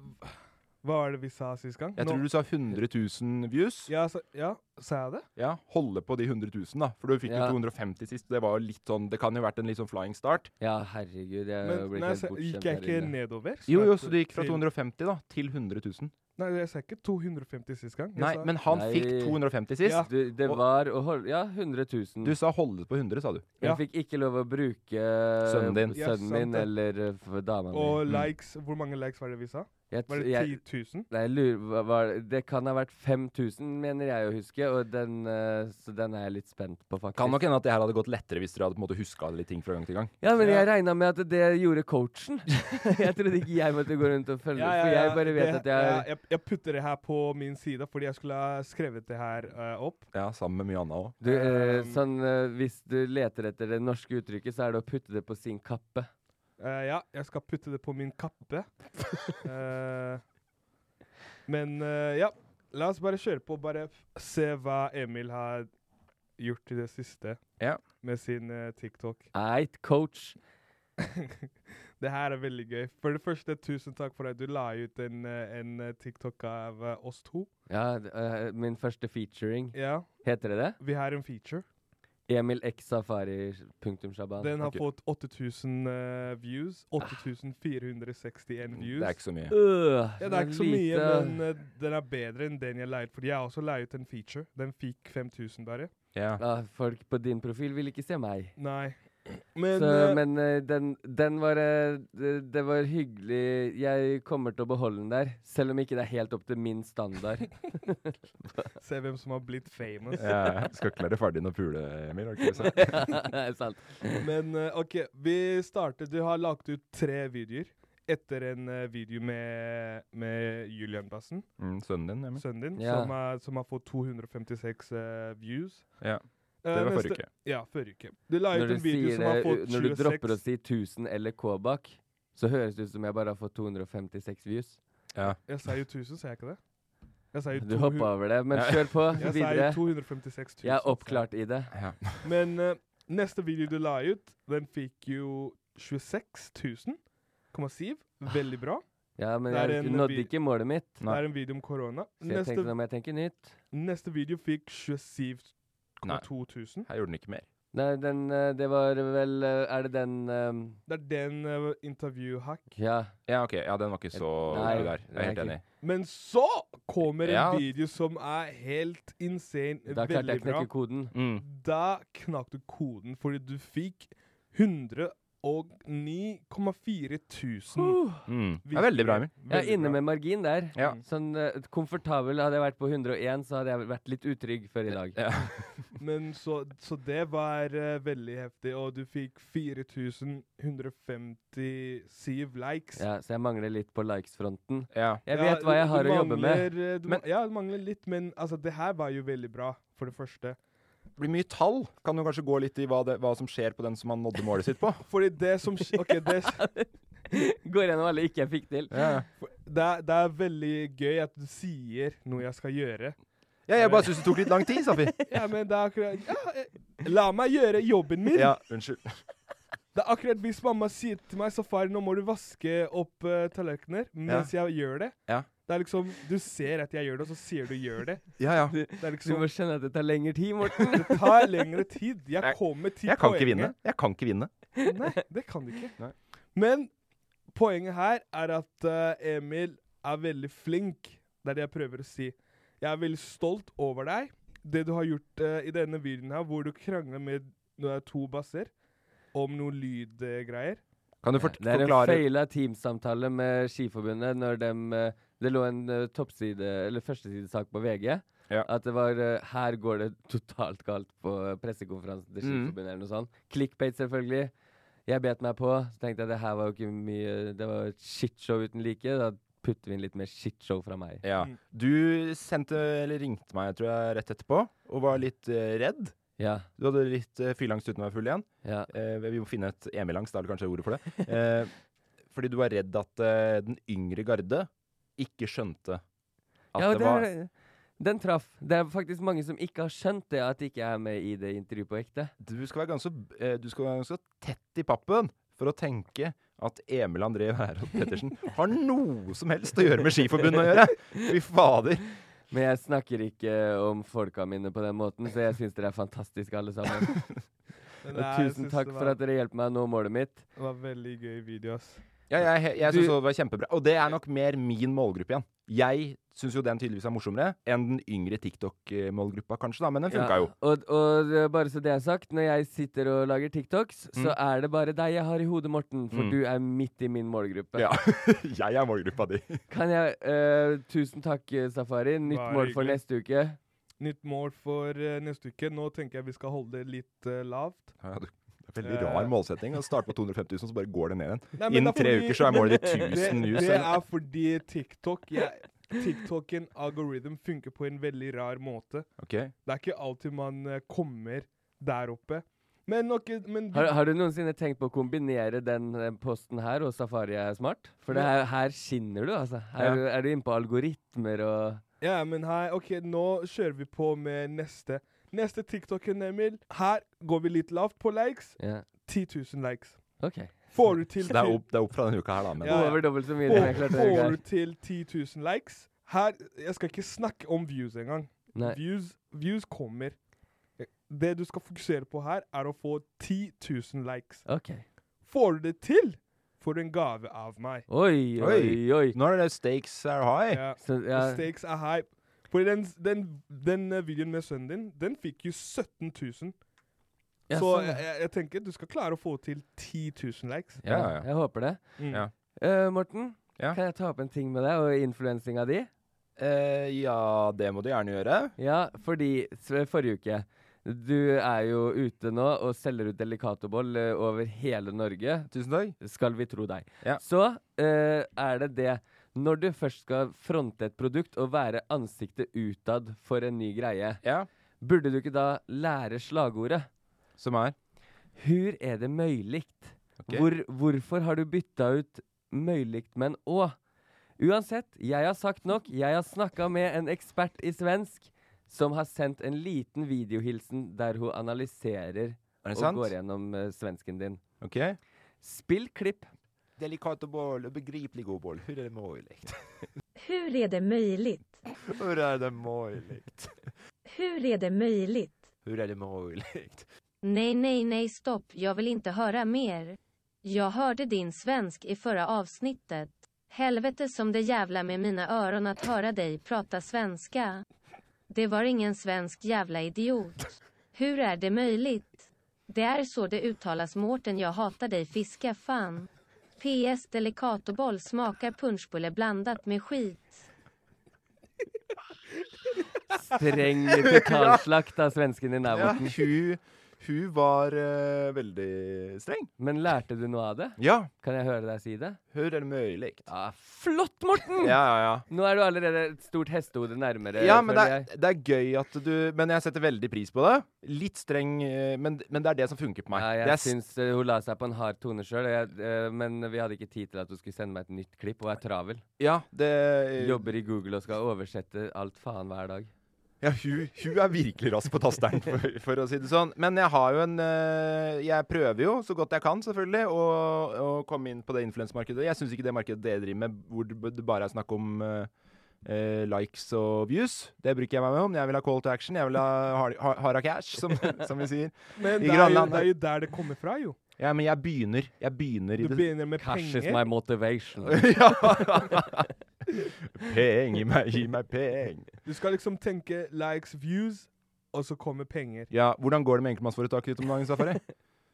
Speaker 3: hva var det vi sa sist gang?
Speaker 5: Jeg
Speaker 3: Nå-
Speaker 5: tror du sa 100 000 views.
Speaker 3: ja, sa- ja, sa jeg det?
Speaker 5: Ja, holde på de 100 000, da. For du fikk
Speaker 4: Ja.
Speaker 5: jo 250 sist. Det var jo litt sånn Det kan jo ha vært en litt sånn flying start.
Speaker 4: Ja, herregud. Eh, Jeg
Speaker 3: Men
Speaker 4: blir
Speaker 3: nei,
Speaker 4: helt
Speaker 3: så,
Speaker 4: bortskjemt
Speaker 3: gikk jeg
Speaker 4: her
Speaker 3: ikke
Speaker 4: inne.
Speaker 3: nedover?
Speaker 5: Jo, jo,
Speaker 3: at-
Speaker 5: så du gikk fra
Speaker 3: til-
Speaker 5: 250 da til 100 000.
Speaker 3: Nei, jeg sa ikke 250 sist gang. Jeg
Speaker 5: Nei,
Speaker 3: sa-
Speaker 5: men han
Speaker 4: Nei.
Speaker 5: fikk 250 sist.
Speaker 3: Ja.
Speaker 4: Du, det
Speaker 5: Og-
Speaker 4: var å holde Ja, 100 000.
Speaker 5: Du sa holde på 100, sa du.
Speaker 3: Ja.
Speaker 4: Jeg fikk ikke lov å bruke øh,
Speaker 5: Sønnen din.
Speaker 3: Ja,
Speaker 4: sønnen
Speaker 3: sant
Speaker 4: min
Speaker 3: det.
Speaker 4: eller øh, for dama mi.
Speaker 3: Og likes Hvor mange likes var det vi sa?
Speaker 4: Jeg t-
Speaker 3: Var
Speaker 4: jeg-
Speaker 3: det 10 000?
Speaker 4: Nei, jeg lurer, hva, var- det kan ha vært 5000, mener jeg å huske, og den, eh, så den er jeg litt spent på, faktisk.
Speaker 5: Kan nok hende at det her hadde gått lettere hvis dere hadde på en måte huska litt ting fra gang til gang.
Speaker 4: Ja, men jeg regna med at det gjorde coachen. jeg trodde ikke jeg måtte gå rundt og følge, for jeg bare vet
Speaker 3: det,
Speaker 4: at jeg
Speaker 3: ja, jeg, jeg putter det her på min side, fordi jeg skulle ha skrevet det her eh, opp.
Speaker 5: Ja, sammen med mye annet òg.
Speaker 4: du, eh,
Speaker 3: Um,
Speaker 4: sånn, eh, Hvis du leter etter det norske uttrykket, så er det å putte det på sin kappe.
Speaker 3: Eh, ja, jeg skal putte det på min kappe. Eh, men eh, ja, la oss bare kjøre på. Bare f- se hva Emil har gjort i det siste
Speaker 5: Ja.
Speaker 3: med sin eh, TikTok.
Speaker 4: Eit, coach.
Speaker 3: Det her er veldig gøy. For det første, tusen takk for at du la ut en, eh, en eh, TikTok av eh, oss to.
Speaker 4: Ja, d- eh, min første featuring.
Speaker 3: Ja,
Speaker 4: Heter det det?
Speaker 3: vi har en feature.
Speaker 4: Emil X Safari. Punktum Shaban.
Speaker 3: Den har
Speaker 5: ok. Ah.
Speaker 3: fått 8000 eh, views. 8461 views.
Speaker 5: Mm, Det er ikke så mye.
Speaker 4: Øh,
Speaker 3: Ja, det er ikke så mye,
Speaker 4: lite-
Speaker 3: men eh, den er bedre enn den jeg leide. Fordi jeg har også leid ut en feature. Den fikk 5000 bare.
Speaker 5: Ja.
Speaker 4: Ah, Folk på din profil vil ikke se meg.
Speaker 3: Nei. Men,
Speaker 4: så,
Speaker 3: eh,
Speaker 4: men eh, den, den var eh, det, det var hyggelig. Jeg kommer til å beholde den der, selv om ikke det er helt opp til min standard.
Speaker 3: se hvem som har blitt famous.
Speaker 5: Ja, skal ikke være ferdig når pule, Emil. har du ikke det?
Speaker 4: det er sant.
Speaker 3: Men eh, OK, vi starter. Du har lagt ut tre videoer. etter en eh, video med, med Julian Bassen,
Speaker 5: Mm, sønnen din, Emil.
Speaker 3: sønnen din,
Speaker 4: Ja.
Speaker 3: som, er, som har fått 256 eh, views.
Speaker 5: Ja,
Speaker 3: Eh,
Speaker 5: det var
Speaker 3: neste-
Speaker 5: forrige uke.
Speaker 3: Ja, forrige uke. Du la ut
Speaker 4: Når du,
Speaker 3: en video
Speaker 4: sier
Speaker 3: som har
Speaker 4: det,
Speaker 3: fått
Speaker 4: u- når du dropper å
Speaker 3: 26
Speaker 4: si 1000 eller K bak, så høres det ut som jeg bare har fått 256 views.
Speaker 3: Jeg sa jo 1000, sa jeg ikke det? Jeg sa jo
Speaker 4: Du
Speaker 3: 200
Speaker 4: hoppa over det, men
Speaker 5: Ja.
Speaker 4: kjør på
Speaker 3: Jeg sa jo
Speaker 4: videre.
Speaker 3: 256 000.
Speaker 4: Jeg er oppklart i det.
Speaker 5: Ja.
Speaker 3: Men eh, neste video du la ut, den fikk jo 26 000,7. Veldig bra.
Speaker 4: Ja, men
Speaker 3: Det er
Speaker 4: jeg
Speaker 3: en
Speaker 4: nådde
Speaker 3: bi-
Speaker 4: ikke målet mitt.
Speaker 3: Det er en video om korona.
Speaker 4: Så jeg tenkte
Speaker 3: Neste,
Speaker 4: nå må jeg tenke nytt.
Speaker 3: neste video fikk 27,2
Speaker 5: Nei,
Speaker 3: 000.
Speaker 5: her gjorde den ikke mer.
Speaker 4: Nei, den, eh, det var vel eh, Er det den ehm,
Speaker 3: Det er den uh, intervju-hack.
Speaker 4: Ja.
Speaker 5: Ja, ok, ja, den var ikke så
Speaker 4: Nei,
Speaker 5: god der. Jeg er
Speaker 4: nei,
Speaker 5: helt
Speaker 4: ikke.
Speaker 5: enig.
Speaker 3: Men så kommer en
Speaker 5: Ja.
Speaker 3: video som er helt insane.
Speaker 4: Da klarte
Speaker 3: veldig
Speaker 4: jeg å
Speaker 3: bra.
Speaker 4: knekke koden.
Speaker 5: Mm.
Speaker 3: Da knakk du koden, fordi du fikk 109,4 000.
Speaker 5: Mm. Det er veldig bra, Emil.
Speaker 4: Jeg er inne med margin der.
Speaker 5: Ja.
Speaker 4: Sånn eh, komfortabel hadde jeg vært på 101, så hadde jeg vært litt utrygg før i dag.
Speaker 5: Ja.
Speaker 3: Men så, så det var eh, veldig heftig, og du fikk 4157 likes.
Speaker 4: Ja, så jeg mangler litt på likes-fronten.
Speaker 5: Ja.
Speaker 4: Jeg
Speaker 3: Ja,
Speaker 4: vet hva jeg
Speaker 3: du-
Speaker 4: har
Speaker 3: du
Speaker 4: å jobbe med.
Speaker 3: mangler, eh, Du,
Speaker 5: Men-
Speaker 3: ma- ja, du mangler litt, men altså, det her var jo veldig bra, for det første.
Speaker 5: Det blir mye tall. Kan du kanskje gå litt i hva, det, hva som skjer på den som han nådde målet sitt på?
Speaker 3: Fordi det som sk- OK, det, s-
Speaker 4: Går gjennom alle ikke jeg fikk til.
Speaker 3: det, er, det er veldig gøy at du sier noe jeg skal gjøre.
Speaker 5: Ja, jeg bare syns det tok litt lang tid, Safi.
Speaker 3: Ja, men det er akkurat ja, eh, La meg gjøre jobben min!
Speaker 5: Ja, unnskyld.
Speaker 3: Det er akkurat hvis mamma sier til meg Safari, nå må du vaske opp eh, tallerkener mens jeg gjør det.
Speaker 5: Ja.
Speaker 3: Det er liksom, Du ser at jeg gjør det, og så sier du 'gjør det'.
Speaker 5: Ja, ja.
Speaker 3: Det er
Speaker 4: Du
Speaker 3: liksom,
Speaker 4: må skjønne at det tar lengre tid, Morten.
Speaker 3: det tar lengre tid. Jeg
Speaker 5: Jeg-
Speaker 3: kommer til
Speaker 5: Jeg kan ikke vinne.
Speaker 3: poenget.
Speaker 5: Jeg kan ikke vinne.
Speaker 3: Nei, det kan du ikke.
Speaker 5: Nei.
Speaker 3: Men poenget her er at eh, Emil er veldig flink. Det er det jeg prøver å si. Jeg er veldig stolt over deg. Det du har gjort eh, i denne videoen her, hvor du krangler med eh, to basser om noen lydgreier.
Speaker 5: Kan du fort
Speaker 4: Det er en
Speaker 5: forklare
Speaker 4: feila teamsamtale med Skiforbundet når dem, eh, det lå en eh, toppside, eller førstesidesak på VG.
Speaker 5: Ja.
Speaker 4: At det var eh, Her går det totalt galt på eh, pressekonferansen til
Speaker 5: Mm.
Speaker 4: Skiforbundet, eller noe sånt. Clickbait, selvfølgelig. Jeg bet meg på. Så tenkte jeg det her var jo ikke mye Det var et shitshow uten like. Da putter vi inn litt mer shitshow fra meg.
Speaker 5: Ja. Du sendte, eller ringte meg, tror jeg, rett etterpå, og var litt eh, redd.
Speaker 4: Ja.
Speaker 5: Du hadde litt uh, fylleangst uten å være full igjen.
Speaker 4: ja.
Speaker 5: Eh, vi må finne et Emil-angst, er vel kanskje ordet for det. Eh, fordi du var redd at eh, den yngre garde ikke skjønte at
Speaker 4: ja, og
Speaker 5: det, var
Speaker 4: er- den traff. Det er faktisk mange som ikke har skjønt det, at de ikke er med i det intervjuet på ekte.
Speaker 5: du skal, være ganske, eh, du skal være ganske tett i pappen for å tenke at Emil André Wærås Pettersen har noe som helst å gjøre med Skiforbundet å gjøre! Fy fader.
Speaker 4: Men jeg snakker ikke om folka mine på den måten, så jeg syns dere er fantastiske alle sammen.
Speaker 3: Men
Speaker 4: Og
Speaker 3: det er- jeg
Speaker 4: tusen
Speaker 3: synes
Speaker 4: takk
Speaker 3: det
Speaker 4: for
Speaker 3: var-
Speaker 4: at dere hjelper meg å nå målet mitt.
Speaker 3: Det var veldig gøy video, ass.
Speaker 5: Ja, jeg jeg, jeg
Speaker 4: Du-
Speaker 5: syns det var kjempebra. Og det er nok mer min målgruppe igjen. Jeg syns jo den tydeligvis er morsommere enn den yngre TikTok-målgruppa, kanskje, da, men den funka
Speaker 4: Ja,
Speaker 5: jo.
Speaker 4: Og, og eh, bare så det er sagt, når jeg sitter og lager TikToks, så er det bare deg jeg har i hodet, Morten, for
Speaker 5: Mm.
Speaker 4: du er midt i min målgruppe.
Speaker 5: Ja. Jeg er målgruppa di.
Speaker 4: Kan jeg eh, Tusen takk, eh, Safari. Nytt
Speaker 3: Bare
Speaker 4: mål for
Speaker 3: hyggelig.
Speaker 4: neste uke.
Speaker 3: Nytt mål for eh, neste uke. Nå tenker jeg vi skal holde det litt eh, lavt.
Speaker 5: Ja, du, det er veldig rar målsetting. Å starte på 250 000, så bare går det ned igjen.
Speaker 3: Nei, men det
Speaker 5: Innen
Speaker 3: er
Speaker 5: tre
Speaker 3: fordi-
Speaker 5: uker så er målet ditt
Speaker 3: Det,
Speaker 5: 1000 views.
Speaker 3: det er fordi TikTok jeg, TikToken algorithm funker på en veldig rar måte.
Speaker 5: Ok.
Speaker 3: Det er ikke alltid man eh, kommer der oppe. Men, nok, men vi-
Speaker 4: Har, har du noensinne tenkt på å kombinere den eh, posten her og Safari er smart? For det her, her skinner du, altså. Her
Speaker 5: Ja.
Speaker 4: er du- er du inne på algoritmer og
Speaker 3: Ja, men hei, ok, nå kjører vi på med neste. Neste TikToken, Emil. Her går vi litt lavt på likes.
Speaker 4: Ja,
Speaker 3: 10 000 likes.
Speaker 4: OK.
Speaker 3: Får du til
Speaker 5: Så det er, opp, det er opp fra denne uka her, da. Men
Speaker 3: Ja, ja.
Speaker 4: Over dobbelt så mye som jeg
Speaker 3: Får,
Speaker 4: klarte å
Speaker 3: får
Speaker 4: gjøre.
Speaker 3: du til 10 000 likes Her, Jeg skal ikke snakke om views engang.
Speaker 4: Nei.
Speaker 3: Views, views kommer. Det du skal fokusere på her, er å få 10 000 likes.
Speaker 4: OK.
Speaker 3: Får du det til, får du en gave av meg.
Speaker 4: Oi, oi, oi.
Speaker 5: nå er det stakes are high.
Speaker 3: Ja.
Speaker 4: Så, ja,
Speaker 3: Stakes er high. Fordi den, den, den eh, videoen med sønnen din, den fikk jo 17 000.
Speaker 4: ja,
Speaker 3: Så eh,
Speaker 4: sånn,
Speaker 3: jeg, jeg- jeg tenker du skal klare å få til 10 000 likes.
Speaker 4: ja,
Speaker 5: Ja, ja.
Speaker 4: jeg håper det.
Speaker 3: Mm.
Speaker 5: Ja.
Speaker 4: Eh, Morten,
Speaker 5: Ja.
Speaker 4: kan jeg ta opp en ting med deg og influensinga di?
Speaker 5: Eh, ja, det må du gjerne gjøre.
Speaker 4: Ja, fordi s- forrige uke Du er jo ute nå og selger ut delikatoboll eh, over hele Norge.
Speaker 5: Tusen takk.
Speaker 4: Skal vi tro deg.
Speaker 5: Ja.
Speaker 4: Så eh, er det det. Når du først skal fronte et produkt og være ansiktet utad for en ny greie,
Speaker 5: Ja.
Speaker 4: burde du ikke da lære slagordet?
Speaker 5: Som er
Speaker 4: Hur er det møylikt?
Speaker 5: Ok.
Speaker 4: Hvor, hvorfor har du bytta ut møylikt med en å? Uansett, jeg har sagt nok. Jeg har snakka med en ekspert i svensk som har sendt en liten videohilsen der hun analyserer
Speaker 5: Er det
Speaker 4: og
Speaker 5: sant?
Speaker 4: går gjennom eh, svensken din.
Speaker 5: Ok.
Speaker 4: Spill klipp.
Speaker 6: Delikat och boll, begriplig och boll. Hur är det möjligt?
Speaker 7: Hur är det möjligt?
Speaker 6: Hur är det möjligt?
Speaker 7: Hur är det möjligt?
Speaker 6: Hur är det möjligt?
Speaker 7: Nej, nej, nej, stopp, jag vill inte höra mer. Jag hörde din svensk i förra avsnittet. Helvete som det jävla med mina öron att höra dig prata svenska. Det var ingen svensk jävla idiot. Hur är det möjligt? Det är så det uttalas Mårten, jag hatar dig fiska fan. PS Delicatoboll smakar punschbulle blandat med skit.
Speaker 4: Streng totalslakt av svensken din der
Speaker 5: Ja,
Speaker 4: borte.
Speaker 5: hun, hun var eh, veldig streng.
Speaker 4: Men lærte du noe av det?
Speaker 5: Ja.
Speaker 4: Kan jeg høre deg si det?
Speaker 5: Hur är det möjligt?
Speaker 4: Ja, flott, Morten!
Speaker 5: Ja, ja, ja.
Speaker 4: Nå er du allerede et stort hestehode nærmere.
Speaker 5: Ja, men det
Speaker 4: føler
Speaker 5: er,
Speaker 4: jeg.
Speaker 5: det er gøy at du Men jeg setter veldig pris på det. Litt streng, eh, men, men det er det som funker på meg.
Speaker 4: Ja, jeg
Speaker 5: det er, s-
Speaker 4: syns eh, hun la seg på en hard tone sjøl, eh, men vi hadde ikke tid til at hun skulle sende meg et nytt klipp, og er travel.
Speaker 5: ja, det Eh,
Speaker 4: Jobber i Google og skal oversette alt faen hver dag.
Speaker 5: Ja, hun, hun er virkelig rask på tasteren, for, for å si det sånn. Men jeg har jo en eh, Jeg prøver jo så godt jeg kan, selvfølgelig, å, å komme inn på det influensemarkedet. Jeg syns ikke det markedet dere driver med, hvor det b- det bare er snakk om eh, eh, likes og views, det bruker jeg meg med om. Jeg vil ha call to action, jeg vil ha har- har- harda cash, som, som vi sier.
Speaker 3: Men
Speaker 5: I
Speaker 3: det er, jo,
Speaker 5: Grønland,
Speaker 3: det er
Speaker 5: ja.
Speaker 3: jo der det kommer fra, jo.
Speaker 5: Ja, men jeg begynner. Jeg begynner
Speaker 3: Du
Speaker 5: i det
Speaker 3: begynner med
Speaker 4: Cash is
Speaker 3: penger.
Speaker 4: my motivation.
Speaker 5: ja. Peng, gi meg, gi meg peng.
Speaker 3: Du skal liksom tenke likes, views, og så kommer penger.
Speaker 5: Ja, hvordan går det med enkeltmannsforetaket ditt om dagen, Safari?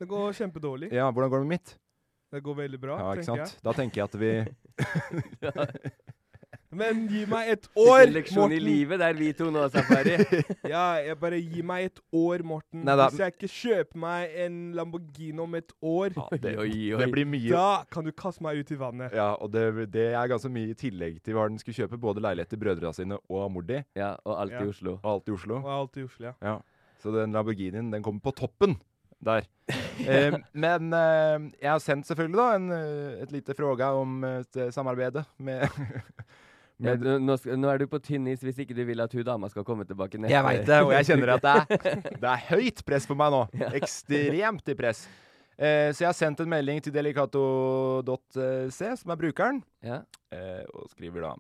Speaker 3: Det går kjempedårlig.
Speaker 5: Ja, hvordan går det med mitt?
Speaker 3: Det går veldig bra,
Speaker 5: Ja, ikke
Speaker 3: tenker
Speaker 5: sant? Da tenker jeg at vi
Speaker 3: jeg. Men gi meg et
Speaker 4: Ikke
Speaker 3: år,
Speaker 4: en leksjon i
Speaker 3: Morten!
Speaker 4: livet der vi to nå, Safari.
Speaker 3: Ja, jeg bare gi meg et år, Morten.
Speaker 5: Nei da.
Speaker 3: Hvis jeg ikke kjøper meg en Lamborghini om et år,
Speaker 4: Oi, oi, oi.
Speaker 5: Det blir mye.
Speaker 3: da kan du kaste meg ut i vannet.
Speaker 5: Ja, og det, det er ganske mye i tillegg til hva den skulle kjøpe. Både leilighet til brødrene sine og mor di,
Speaker 4: Ja, og alt
Speaker 3: Ja.
Speaker 4: i Oslo.
Speaker 5: og alt i Oslo.
Speaker 3: Og alt i Oslo, ja.
Speaker 5: Ja. Så den Lamborghinien, den kommer på toppen der. Eh, men eh, jeg har sendt selvfølgelig da en, eh, et lite fråga om eh, et samarbeid med
Speaker 4: Ja, du, nå, sk- nå er du på tynn is hvis ikke du vil at hun dama skal komme tilbake neste
Speaker 5: Jeg veit det, og jeg kjenner at det er, det er høyt press på meg nå. Ekstremt i press. Eh, så jeg har sendt en melding til delicato.c, som er brukeren,
Speaker 4: Ja.
Speaker 5: eh, og skriver da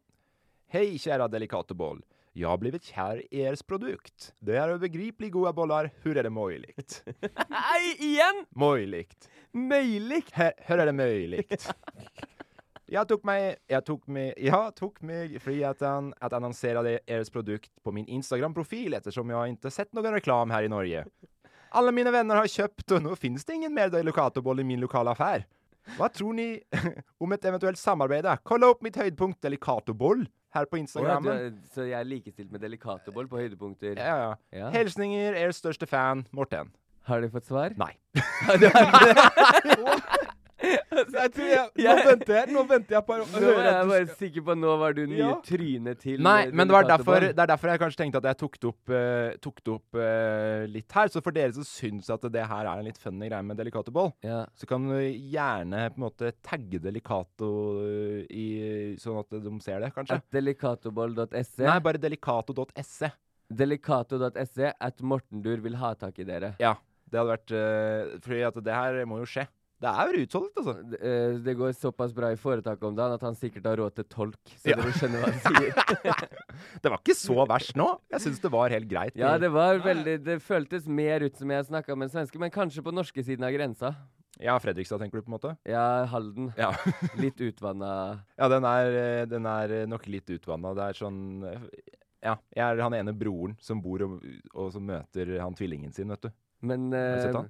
Speaker 5: Hei, kjære Delicato Boll. Jeg har blitt kjær i deres produkt. Det er ubegripelig gode boller. Hvor er det mulig?
Speaker 4: Nei, igjen!
Speaker 5: Mulig.
Speaker 4: Møylig!
Speaker 5: Her, her er det mulig. Jeg tok meg Jeg tok meg, jeg tok meg friheten att annonsera det- ers produkt på min Instagram-profil eftersom jag inte sett någon reklam här i Norge. Alla mina vänner har köpt och nu finns det ingen mer Delicatoboll i min lokala affär. Vad tror ni om ett eventuellt samarbete? Kolla upp mitt høydpunkt Delicatoboll här på
Speaker 4: Åja,
Speaker 5: Instagram.
Speaker 4: du er- så jeg er likestilt med delikatoboll på høydepunkter.
Speaker 5: Ja, ja.
Speaker 4: Ja.
Speaker 5: Hälsningar er största fan, Morten.
Speaker 4: Har du fått svar?
Speaker 5: Nei.
Speaker 3: Jeg tror jeg, nå
Speaker 4: Jeg-
Speaker 3: venter jeg nå venter jeg på å
Speaker 4: Nå
Speaker 3: høre
Speaker 4: er jeg
Speaker 3: at du
Speaker 4: bare
Speaker 3: skal
Speaker 4: sikker på at nå var du nye
Speaker 3: Ja.
Speaker 4: trynet til
Speaker 5: Nei,
Speaker 4: eh,
Speaker 5: men det, var derfor,
Speaker 4: Delikatoboll.
Speaker 5: det er derfor jeg kanskje tenkte at jeg tok det opp, eh, tok det opp eh, litt her. Så for dere som syns at det her er en litt funny greie med Delicato Ball,
Speaker 4: Ja.
Speaker 5: så kan du gjerne på en måte tagge Delicato eh, i, sånn at de ser det, kanskje.
Speaker 4: At delikatoboll.se.
Speaker 5: Nei, bare delicato.se.
Speaker 4: Delikato.se at Mortendur vil ha tak i dere.
Speaker 5: Ja, det hadde vært eh, Fordi at det her må jo skje. Det er jo utsolgt, altså.
Speaker 4: D- eh, Det går såpass bra i foretaket om dagen at han sikkert har råd til tolk. Så
Speaker 5: Ja.
Speaker 4: dere skjønner hva han sier.
Speaker 5: Det var ikke så verst nå. Jeg syns det var helt greit.
Speaker 4: Ja, det var veldig Det føltes mer ut som jeg snakka med en svenske, men kanskje på norske siden av grensa.
Speaker 5: ja Fredrikstad, tenker du på en måte?
Speaker 4: Ja, Halden.
Speaker 5: Ja.
Speaker 4: Litt utvanna.
Speaker 5: Ja, den er, eh, den er eh, nok litt utvanna. Det er sånn eh, Ja, jeg er han ene broren som bor og, og som møter han tvillingen sin, vet du.
Speaker 4: Men
Speaker 5: du
Speaker 4: eh,
Speaker 5: sett han?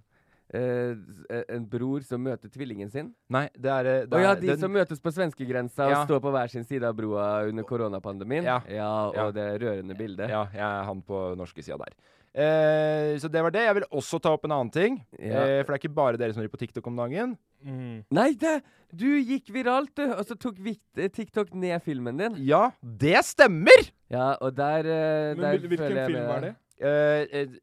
Speaker 4: eh, En bror som møter tvillingen sin.
Speaker 5: Nei, det er eh, det
Speaker 4: Å ja,
Speaker 5: er-
Speaker 4: de
Speaker 5: den-
Speaker 4: som møtes på svenskegrensa
Speaker 5: Ja.
Speaker 4: og står på hver sin side av broa under koronapandemien.
Speaker 5: Ja.
Speaker 4: ja og
Speaker 5: Ja.
Speaker 4: det rørende bildet.
Speaker 5: Ja, jeg er han på norske sida der. Eh, så det var det. Jeg vil også ta opp en annen ting.
Speaker 4: Ja.
Speaker 5: Eh, for det er ikke bare dere som hører på TikTok om dagen.
Speaker 4: Nei, det, du gikk viralt, du! Og så tok vikt- eh, TikTok ned filmen din.
Speaker 5: Ja, det stemmer!
Speaker 4: Ja, og der, eh,
Speaker 3: Men
Speaker 4: der
Speaker 3: hvil- hvilken
Speaker 4: føler jeg
Speaker 3: film
Speaker 4: med deg.
Speaker 3: er det?
Speaker 5: Eh,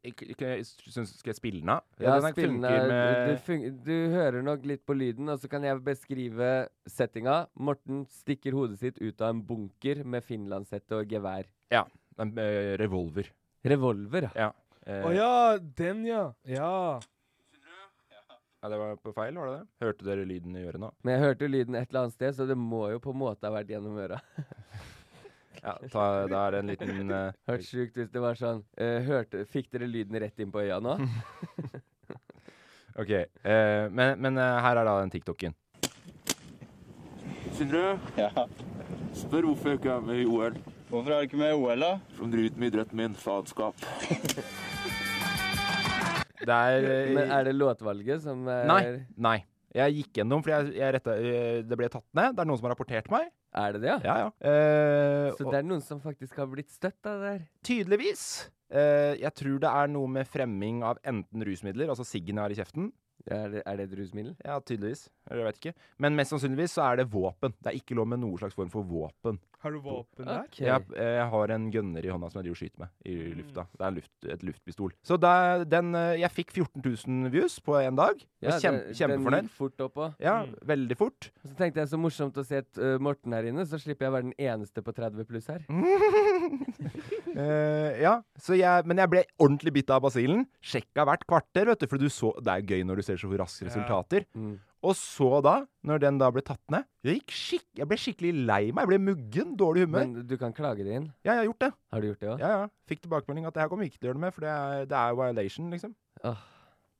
Speaker 5: eh, k- k- syns- skal jeg spille den av?
Speaker 4: Ja,
Speaker 5: den her
Speaker 4: spillene-
Speaker 5: funker
Speaker 4: du,
Speaker 5: med
Speaker 4: du, fun du hører nok litt på lyden, og så kan jeg beskrive settinga. Morten stikker hodet sitt ut av en bunker med finlandshette og gevær.
Speaker 5: Ja. En eh, revolver.
Speaker 4: Revolver,
Speaker 5: ja. Eh,
Speaker 3: Å ja, den ja. Ja.
Speaker 5: ja, det var på feil, var det det? Hørte dere lyden i øret nå?
Speaker 4: Men jeg hørte jo lyden et eller annet sted, så det må jo på en måte ha vært gjennom øra.
Speaker 5: Ja, ta, da er det en liten eh,
Speaker 4: Hørt sjukt hvis det var sånn. eh, hørte, fikk dere lyden rett inn på øya nå?
Speaker 5: OK. eh, men men eh, her er da den TikToken.
Speaker 8: Sindre? Ja? Spør hvorfor jeg ikke er med i OL. Hvorfor er du ikke med i OL, da? Som driter med idretten min. Faenskap.
Speaker 5: Det er eh,
Speaker 4: Men er det låtvalget som er
Speaker 5: Nei. nei. Jeg gikk gjennom, for jeg, jeg retta, eh, det ble tatt ned. Det er noen som har rapportert meg.
Speaker 4: Er det det, ja?
Speaker 5: Ja, ja. Eh,
Speaker 4: Så
Speaker 5: og-
Speaker 4: det er noen som faktisk har blitt støtt av det der?
Speaker 5: Tydeligvis. Eh, jeg tror det er noe med fremming av enten rusmidler, altså siggen jeg har i kjeften.
Speaker 4: Er det, et rusmiddel?
Speaker 5: Ja, tydeligvis. Eller jeg vet ikke. Men mest sannsynligvis så er det våpen. Det er ikke lov med noen slags form for våpen.
Speaker 3: Har du våpen der?
Speaker 4: Ok.
Speaker 5: Jeg, eh, jeg har en gunner i hånda som jeg driver og skyter med i lufta. Det er en luft, et luftpistol. Så da- den, eh, jeg fikk 14 000 views på én dag. Jeg
Speaker 4: Ja,
Speaker 5: var kjempe,
Speaker 4: det- den Mm.
Speaker 5: kjempefornøyd.
Speaker 4: gikk fort opp også.
Speaker 5: Ja, veldig fort.
Speaker 4: Og Så tenkte jeg så morsomt å se et, eh, Morten her inne, så slipper jeg å være den eneste på 30 pluss her.
Speaker 5: Eh, ja, så jeg, men jeg ble ordentlig bitt av basillen. Sjekka hvert kvarter, vet du, for du så, det er gøy når du ser så raske resultater.
Speaker 4: Mm.
Speaker 5: Og så da, når den da ble tatt ned Jeg, gikk skikk, jeg ble skikkelig lei meg. Jeg ble muggen, dårlig humør.
Speaker 4: Men du kan klage det inn.
Speaker 5: ja, jeg har gjort det.
Speaker 4: Har du gjort det òg?
Speaker 5: Ja, ja. Fikk tilbakemelding at det her kommer vi ikke til å gjøre noe med, for det er, det er violation, liksom.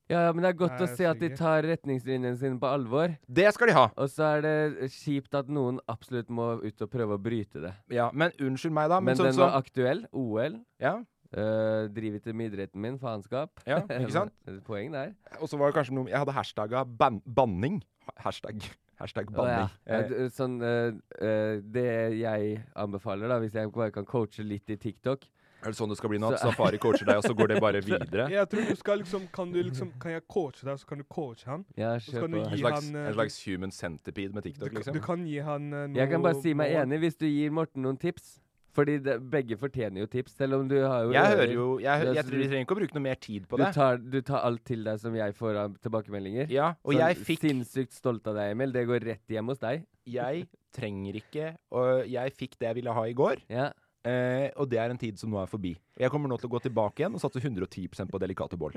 Speaker 4: Ja, ja, men det er godt
Speaker 3: Nei,
Speaker 4: å se at de
Speaker 3: skjønner.
Speaker 4: tar retningslinjene sine på alvor.
Speaker 5: Det skal de ha.
Speaker 4: Og så er det kjipt at noen absolutt må ut og prøve å bryte det.
Speaker 5: Ja, Men unnskyld meg, da.
Speaker 4: Men,
Speaker 5: Men, sånn
Speaker 4: den
Speaker 5: som
Speaker 4: var aktuell. OL.
Speaker 5: ja,
Speaker 4: Uh, driver til med idretten min, faenskap.
Speaker 5: ja, ikke sant?
Speaker 4: Poeng der.
Speaker 5: Og så var det kanskje noe Jeg hadde hashtagga ban banning. Hashtag, hashtag
Speaker 4: Å, ja.
Speaker 5: banning.
Speaker 4: Ja,
Speaker 5: Eh,
Speaker 4: d- sånn, eh, eh, det jeg anbefaler, da, hvis jeg bare kan coache litt i TikTok
Speaker 5: er det sånn det skal bli nå? At
Speaker 4: Så-
Speaker 5: Safari coacher deg, og så går det bare videre?
Speaker 3: Jeg tror du skal liksom Kan du liksom Kan jeg coache deg, så kan du coache han?
Speaker 4: Ja,
Speaker 3: Så
Speaker 4: kjør
Speaker 3: kan du
Speaker 4: på.
Speaker 5: En
Speaker 3: gi
Speaker 5: slags,
Speaker 3: han eh,
Speaker 5: en slags human centipede med TikTok,
Speaker 3: du,
Speaker 5: liksom?
Speaker 3: du kan gi han eh, noe
Speaker 4: Jeg kan bare si meg
Speaker 3: mål.
Speaker 4: enig hvis du gir Morten noen tips. Fordi det, begge fortjener jo tips, selv om du har jo
Speaker 5: Jeg
Speaker 4: ører.
Speaker 5: hører jo Jeg, hø-
Speaker 4: Det-
Speaker 5: jeg tror vi trenger ikke å bruke noe mer tid på
Speaker 4: du
Speaker 5: det.
Speaker 4: tar, du tar alt til deg som jeg får av tilbakemeldinger.
Speaker 5: Ja, og
Speaker 4: Sånn
Speaker 5: jeg fikk
Speaker 4: Sinnssykt stolt av deg, Emil. Det går rett hjem hos deg.
Speaker 5: Jeg trenger ikke Og jeg fikk det jeg ville ha i går,
Speaker 4: Ja.
Speaker 5: eh, og det er en tid som nå er forbi. Jeg kommer nå til å gå tilbake igjen og satse 110 på delikate bål.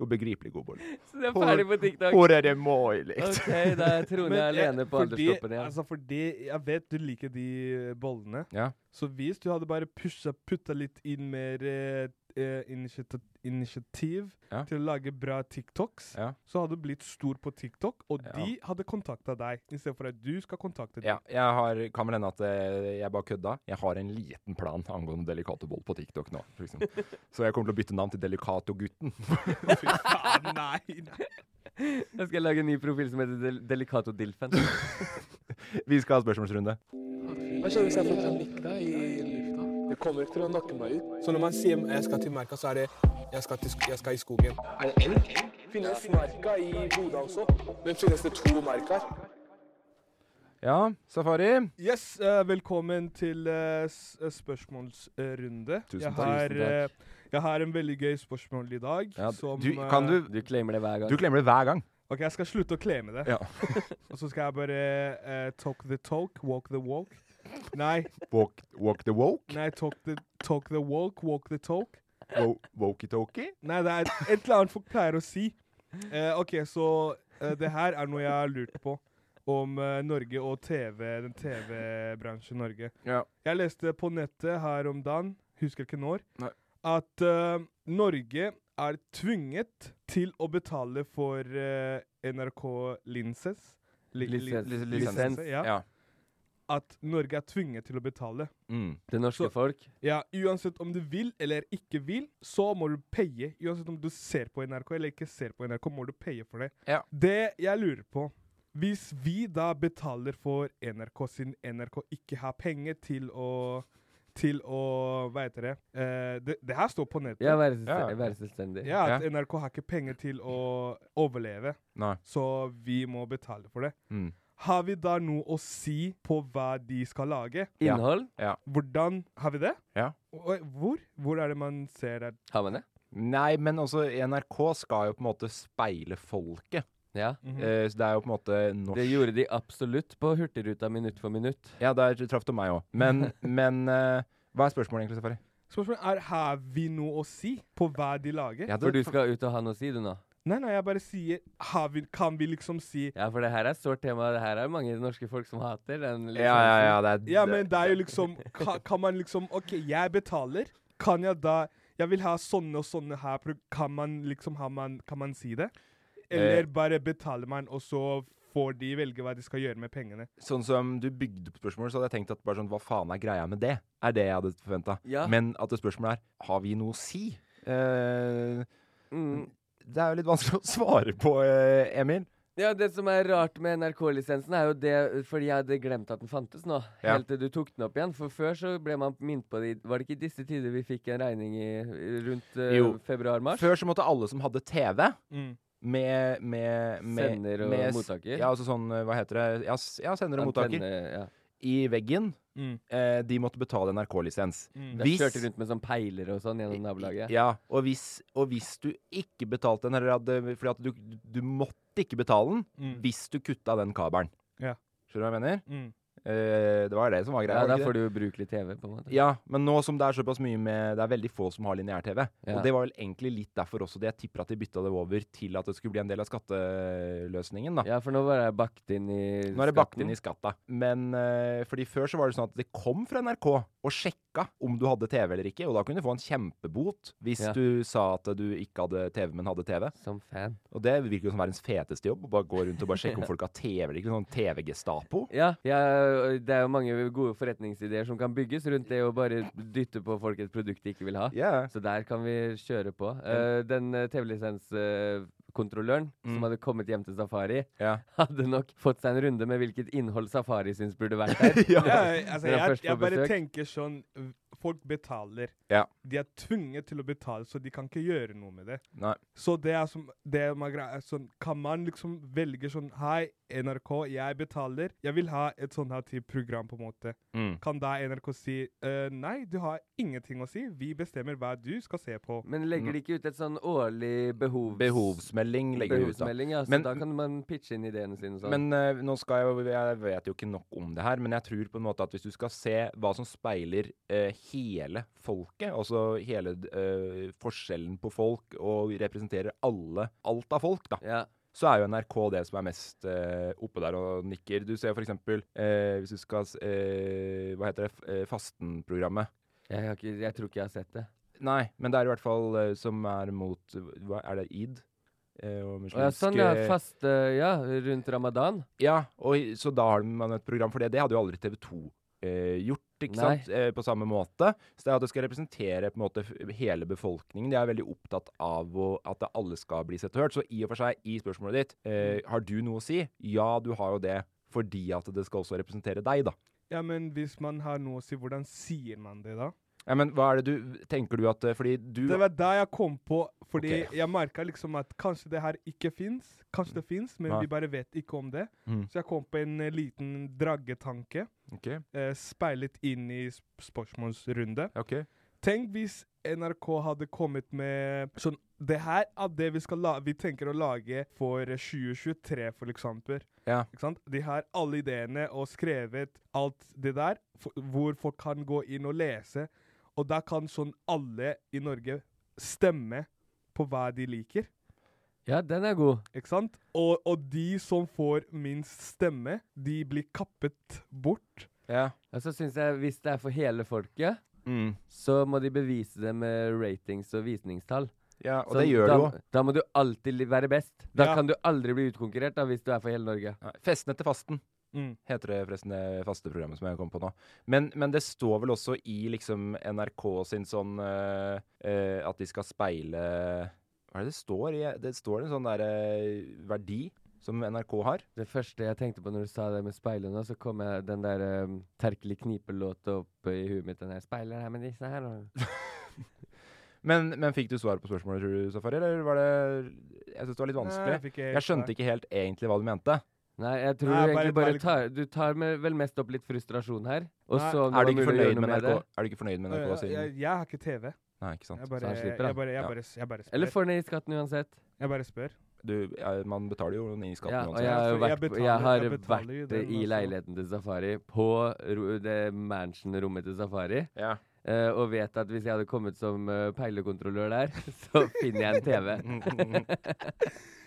Speaker 5: Og begripelig god bål.
Speaker 4: Så du er
Speaker 5: Hvor-
Speaker 4: ferdig på TikTok.
Speaker 5: Hvor er det liksom? mulig?
Speaker 4: OK, da er Trone
Speaker 3: Men jeg-
Speaker 4: alene på
Speaker 3: fordi-
Speaker 4: alderstoppen igjen.
Speaker 3: Altså fordi jeg vet du liker de eh, bollene.
Speaker 5: Ja.
Speaker 3: Så hvis du hadde bare pusha, putta litt inn mer eh, eh, initiativ, initiativ
Speaker 5: Ja.
Speaker 3: til å lage bra TikToks,
Speaker 5: Ja.
Speaker 3: så hadde du blitt stor på TikTok, og
Speaker 5: Ja.
Speaker 3: de hadde kontakta deg, istedenfor at du skal kontakte dem.
Speaker 5: Ja, jeg har, kan vel hende at eh, jeg bare kødda. Jeg har en liten plan angående Delicato Boll på TikTok nå. for eksempel. Så jeg kommer til å bytte navn til Delicato-gutten.
Speaker 3: Fy faen, nei, nei.
Speaker 4: Jeg skal lage en ny profil som heter Del Delicato Dilfen.
Speaker 5: Vi skal ha spørsmålsrunde.
Speaker 9: Hva skjer hvis jeg får panikk da i lufta? Det kommer ikke til å nakke meg ut. Så når man sier jeg skal til merka, så er det jeg skal, i skogen. Er det elg? Finnes merka i Bodø også? Men finnes det to merker?
Speaker 5: Ja, Safari.
Speaker 3: Yes, eh, velkommen til eh, s- eh, spørsmålsrunde.
Speaker 5: Tusen
Speaker 3: jeg
Speaker 5: takk.
Speaker 3: har,
Speaker 4: Tusen takk.
Speaker 3: eh, jeg har en veldig gøy spørsmål i dag.
Speaker 5: Ja,
Speaker 3: som,
Speaker 5: du, kan
Speaker 3: eh,
Speaker 5: du,
Speaker 4: Du claimer det hver gang.
Speaker 5: du glemmer det hver gang.
Speaker 3: Ok, jeg skal slutte å klemme det.
Speaker 5: Ja.
Speaker 3: Og så skal jeg bare eh, talk the talk, walk the walk. Nei,
Speaker 5: Walk, walk the woke.
Speaker 3: nei talk, the, talk the walk, walk the talk.
Speaker 5: Wo- Wokey-tokey.
Speaker 3: Nei, det er et, et eller annet folk pleier å si. Eh, ok, så eh, det her er noe jeg har lurt på om eh, Norge og TV, den TV-bransjen Norge.
Speaker 5: Ja.
Speaker 3: Jeg leste på nettet her om dagen, husker ikke når,
Speaker 5: Nei.
Speaker 3: at eh, Norge er tvunget til å betale for eh, NRK Linses. Li- li-
Speaker 4: Lisens.
Speaker 5: Lis-
Speaker 4: Lisens.
Speaker 3: Ja.
Speaker 5: Ja.
Speaker 3: At Norge er tvunget til å betale.
Speaker 5: Mm.
Speaker 4: Det norske
Speaker 3: Så-
Speaker 4: folk.
Speaker 3: Ja, Uansett om du vil eller ikke vil, så må du paye. Uansett om du ser på NRK eller ikke ser på NRK, må du paye for det.
Speaker 5: Ja.
Speaker 3: Det jeg lurer på Hvis vi da betaler for NRK siden NRK ikke har penger til å til å Hva heter det? Eh, det? Det her står på nettet.
Speaker 4: Ja, være selvstendig- være selvstendig.
Speaker 3: Ja, at
Speaker 4: Ja.
Speaker 3: NRK har ikke penger til å overleve,
Speaker 5: Nei.
Speaker 3: så vi må betale for det.
Speaker 5: Mm.
Speaker 3: Har vi da noe å si på hva de skal lage?
Speaker 5: Ja. Innhold? Ja.
Speaker 3: Hvordan Har vi det?
Speaker 5: Ja.
Speaker 3: Og Hvor? Hvor er det man ser det?
Speaker 4: Har man det?
Speaker 5: Nei, men også NRK skal jo på en måte speile folket.
Speaker 4: Ja.
Speaker 5: Eh, så det er jo på en måte norsk
Speaker 4: Det gjorde de absolutt på Hurtigruta minutt for minutt.
Speaker 5: Ja, der traff du meg òg. Men, men eh, hva er spørsmålet egentlig, Safari?
Speaker 3: Spørsmålet er har vi noe å si på hva de lager.
Speaker 4: for du skal ut og ha noe å si, du nå?
Speaker 3: Nei, nei, jeg bare sier har vi, Kan vi liksom si
Speaker 4: Ja, for det her er et sårt tema. Det her er mange norske folk som hater den. lisensen.
Speaker 3: Ja, men det er jo liksom kan, kan man liksom OK, jeg betaler. Kan jeg da Jeg vil ha sånne og sånne her. pro- Kan man liksom ha man, Kan man si det? Eller
Speaker 5: Eh.
Speaker 3: bare betaler man, og så får de velge hva de skal gjøre med pengene?
Speaker 5: Sånn som du bygde på spørsmålet, så hadde jeg tenkt at bare sånn, hva faen er greia med det? Er det jeg hadde forventa.
Speaker 3: Ja.
Speaker 5: Men at det spørsmålet er har vi noe å si? Eh,
Speaker 4: Mm.
Speaker 5: Det er jo litt vanskelig å svare på, eh, Emil.
Speaker 4: Ja, det som er rart med NRK-lisensen, er jo det Fordi jeg hadde glemt at den fantes nå.
Speaker 5: Ja.
Speaker 4: Helt til du tok den opp igjen. For før så ble man minnet på det i- Var det ikke i disse tider vi fikk en regning i rundt eh,
Speaker 5: Jo.
Speaker 4: februar-mars?
Speaker 5: Før så måtte alle som hadde TV
Speaker 4: Mm.
Speaker 5: med, med, med
Speaker 4: Sender og
Speaker 5: med, s-
Speaker 4: mottaker.
Speaker 5: Ja, altså sånn, eh, hva heter det Ja, s- ja sender og mottaker.
Speaker 4: Antenne, ja.
Speaker 5: I veggen.
Speaker 4: Mm.
Speaker 5: Eh, de måtte betale NRK-lisens.
Speaker 4: Mm. Da kjørte de rundt med sånn peilere og sånn gjennom nabolaget.
Speaker 5: Ja, og hvis, og hvis du ikke betalte den, eller hadde Fordi at du, du måtte ikke betale den
Speaker 4: Mm.
Speaker 5: hvis du kutta den kabelen.
Speaker 3: Ja.
Speaker 5: Skjønner du hva jeg mener?
Speaker 3: Mm.
Speaker 5: Eh, det var det som var greia.
Speaker 4: Ja,
Speaker 5: var det
Speaker 4: da
Speaker 5: ikke
Speaker 4: får
Speaker 5: det?
Speaker 4: du ubrukelig TV, på en måte.
Speaker 5: Ja, men nå som det er såpass mye med Det er veldig få som har lineær-TV.
Speaker 4: Ja.
Speaker 5: Og det var vel egentlig litt derfor også det jeg tipper at de bytta det over til at det skulle bli en del av skatteløsningen, da.
Speaker 4: Ja, for nå var det bakt inn i skatten.
Speaker 5: Nå er det bakt inn i skatta. Men eh, fordi før så var det sånn at det kom fra NRK og sjekka om du hadde TV eller ikke, og da kunne du få en kjempebot hvis
Speaker 4: Ja.
Speaker 5: du sa at du ikke hadde TV, men hadde TV.
Speaker 4: Som fan.
Speaker 5: Og det virker jo som verdens feteste jobb, å bare gå rundt og bare sjekke om folk har TV eller ikke. Sånn TV-gestapo.
Speaker 4: Ja, ja, det er jo mange gode forretningsideer som kan bygges rundt det å bare dytte på folk et produkt de ikke vil ha. Så der kan vi kjøre på. Eh, den eh, TV-lisenskontrolløren som
Speaker 5: Mm.
Speaker 4: hadde kommet hjem til Safari,
Speaker 5: Ja.
Speaker 4: hadde nok fått seg en runde med hvilket innhold Safari syns burde vært der.
Speaker 3: Ja,
Speaker 4: Når
Speaker 3: altså,
Speaker 4: han
Speaker 3: jeg,
Speaker 4: først
Speaker 3: jeg
Speaker 4: får
Speaker 3: bare
Speaker 4: besøk.
Speaker 3: tenker sånn v- Folk betaler.
Speaker 5: Ja.
Speaker 3: De er tvunget til å betale, så de kan ikke gjøre noe med det.
Speaker 5: Nei.
Speaker 3: Så det er som, det er ma- greia, er sånn, kan man liksom velge sånn Hei, NRK, jeg betaler. Jeg vil ha et sånn her type program, på en måte.
Speaker 5: Mm.
Speaker 3: Kan da NRK si «Eh, Nei, du har ingenting å si. Vi bestemmer hva du skal se på.
Speaker 4: Men legger de ikke ut et sånn årlig behovs...
Speaker 5: Behovsmelding legger de ut, da.
Speaker 4: Behovsmelding, ja. Så
Speaker 5: Men-
Speaker 4: da kan man pitche inn ideene sine sånn.
Speaker 5: Men eh, nå skal jeg, jo- jeg vet jo ikke nok om det her, men jeg tror på en måte at hvis du skal se hva som speiler eh, hele folket, altså hele eh, forskjellen på folk og representerer alle, alt av folk, da. Så er jo NRK det som er mest eh, oppe der og nikker. Du ser for eksempel, eh, hvis du skal, s- eh, hva heter det, F- eh, Fastenprogrammet.
Speaker 4: jeg, har ikke, jeg tror ikke jeg har sett det.
Speaker 5: Nei, men det er i hvert fall eh, som er mot, hva er det, id? Eh, og
Speaker 4: Å, ja, sånn, ja.
Speaker 5: muslimske-
Speaker 4: Faste, ja. Rundt ramadan.
Speaker 5: Ja, og i- så da har man et program for det. Det hadde jo aldri TV 2 eh, gjort, ikke
Speaker 4: Nei.
Speaker 5: sant? Eh, på samme måte. Så det er at det skal representere på en måte f- hele befolkningen. De er veldig opptatt av å, at det alle skal bli sett og hørt. Så i og for seg, i spørsmålet ditt, eh, har du noe å si? Ja, du har jo det. Fordi at det skal også representere deg, da.
Speaker 3: Ja, men hvis man har noe å si, hvordan sier man det da?
Speaker 5: Ja, men hva er det du Tenker du at eh, Fordi du
Speaker 3: Det var da jeg kom på, fordi
Speaker 5: Ok.
Speaker 3: jeg merka liksom at kanskje det her ikke fins. Kanskje det fins, men
Speaker 5: Nei.
Speaker 3: vi bare vet ikke om det.
Speaker 5: Mm.
Speaker 3: Så jeg kom på en eh, liten draggetanke,
Speaker 5: Ok.
Speaker 3: eh, speilet inn i sp- spørsmålsrunde.
Speaker 5: Ok.
Speaker 3: Tenk hvis NRK hadde kommet med sånn Det her er det vi, skal la vi tenker å lage for eh, 2023, for eksempel.
Speaker 5: Ja.
Speaker 3: Ikke sant? De har alle ideene og skrevet alt det der, for, hvor folk kan gå inn og lese. Og da kan sånn alle i Norge stemme på hva de liker.
Speaker 4: Ja, den er god.
Speaker 3: Ikke sant? Og, og de som får minst stemme, de blir kappet bort.
Speaker 5: Ja.
Speaker 4: Og så syns jeg, hvis det er for hele folket,
Speaker 5: Mm.
Speaker 4: så må de bevise det med ratings og visningstall.
Speaker 5: Ja,
Speaker 4: Så
Speaker 5: og det gjør
Speaker 4: da,
Speaker 5: det jo.
Speaker 4: Da må du alltid li- være best. Da
Speaker 5: Ja.
Speaker 4: kan du aldri bli utkonkurrert, da, hvis du er for hele Norge.
Speaker 5: Festen etter fasten.
Speaker 3: Mm.
Speaker 5: Heter det forresten det faste programmet som jeg kom på nå. Men, men det står vel også i liksom NRK sin sånn eh, eh, At de skal speile Hva er det det står? i? Det står en sånn derre eh, verdi som NRK har.
Speaker 4: Det første jeg tenkte på når du sa det med speilene, så kom jeg den der um, Terkelig knipe-låta opp i huet mitt. Den der 'Speiler her med disse her', og
Speaker 5: Men, men fikk du svar på spørsmålet, tror du, Safari? Eller var det Jeg syns det var litt vanskelig.
Speaker 4: Nei, jeg fikk ikke helt svar.
Speaker 5: skjønte ikke helt egentlig hva du mente.
Speaker 4: Nei, jeg tror du egentlig bare tar Du tar med, vel mest opp litt frustrasjon her. Og
Speaker 3: Nei.
Speaker 4: så om
Speaker 5: Er
Speaker 4: det var mulig
Speaker 5: du ikke
Speaker 4: å gjøre
Speaker 5: fornøyd
Speaker 4: noe med
Speaker 5: med NRK?
Speaker 4: det.
Speaker 5: Er du ikke fornøyd med NRK?
Speaker 3: jeg,
Speaker 5: siden-
Speaker 3: jeg, jeg har ikke TV.
Speaker 5: Nei, ikke sant.
Speaker 3: Jeg bare,
Speaker 5: Så han slipper, da.
Speaker 3: jeg bare, jeg
Speaker 5: Ja.
Speaker 3: bare, jeg bare spør.
Speaker 4: Eller får ned i skatten uansett.
Speaker 3: Jeg bare spør.
Speaker 5: Du, ja, man betaler jo inn i skatten
Speaker 4: Ja, og
Speaker 5: uansett.
Speaker 4: jeg har, jo vært, jeg
Speaker 3: betaler-
Speaker 4: har
Speaker 3: jeg betaler jo
Speaker 4: vært
Speaker 3: den
Speaker 4: i
Speaker 3: også.
Speaker 4: leiligheten til Safari, på ro- det mansion-rommet til Safari, eh, og vet at hvis jeg hadde kommet som eh, peilekontrollør der, så finner jeg en TV.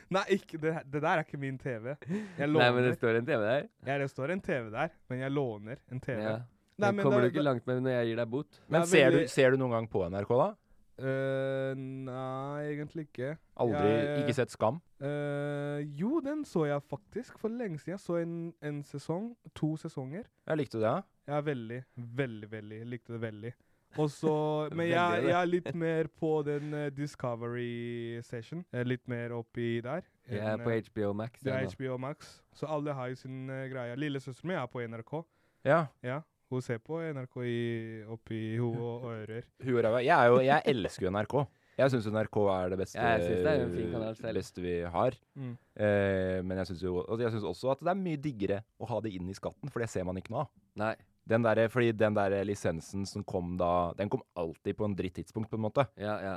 Speaker 3: Nei, ikke, det, det der er ikke min TV. Jeg
Speaker 4: Nei, men
Speaker 3: låner.
Speaker 4: det står en TV der.
Speaker 3: Ja, det står en TV der, men jeg låner en TV.
Speaker 4: Ja.
Speaker 3: Nei,
Speaker 4: Den
Speaker 3: men
Speaker 4: kommer
Speaker 3: da-
Speaker 4: du ikke langt med når jeg gir deg bot.
Speaker 5: Men
Speaker 3: Det er
Speaker 5: ser,
Speaker 3: veldig-
Speaker 5: du, ser du noen gang på NRK, da?
Speaker 3: Eh, nei, egentlig ikke.
Speaker 5: Aldri
Speaker 3: Jeg-
Speaker 5: Ikke sett Skam?
Speaker 3: Eh, jo, den så jeg faktisk for lenge siden. Jeg så en, en sesong, to sesonger.
Speaker 5: Jeg likte det, ja.
Speaker 3: Ja, veldig, veldig, veldig. Likte det veldig. Og så, Men
Speaker 5: Veldig,
Speaker 3: jeg,
Speaker 5: det.
Speaker 3: jeg er litt mer på den eh, Discovery Session. Jeg er litt mer oppi der.
Speaker 4: Jeg
Speaker 3: enn,
Speaker 4: er på
Speaker 3: eh,
Speaker 4: HBO Max,
Speaker 3: Det
Speaker 4: jeg
Speaker 3: er
Speaker 4: nå.
Speaker 3: HBO Max. Så alle har jo sin eh, greie. Lillesøsteren min er på NRK.
Speaker 5: Ja.
Speaker 3: Hun ser på NRK i, oppi hodet og ører.
Speaker 5: Hu og ræva. Jeg, er jo, jeg elsker jo NRK. Jeg syns NRK er det beste,
Speaker 4: Ja, jeg synes det er en fin kanal selv.
Speaker 5: beste vi har.
Speaker 3: Mm.
Speaker 5: Eh, men jeg syns jo og jeg synes også at det er mye diggere å ha det inn i skatten, for det ser man ikke nå.
Speaker 4: Nei.
Speaker 5: Den der, fordi den der lisensen som kom da, den kom alltid på en dritt tidspunkt, på en måte.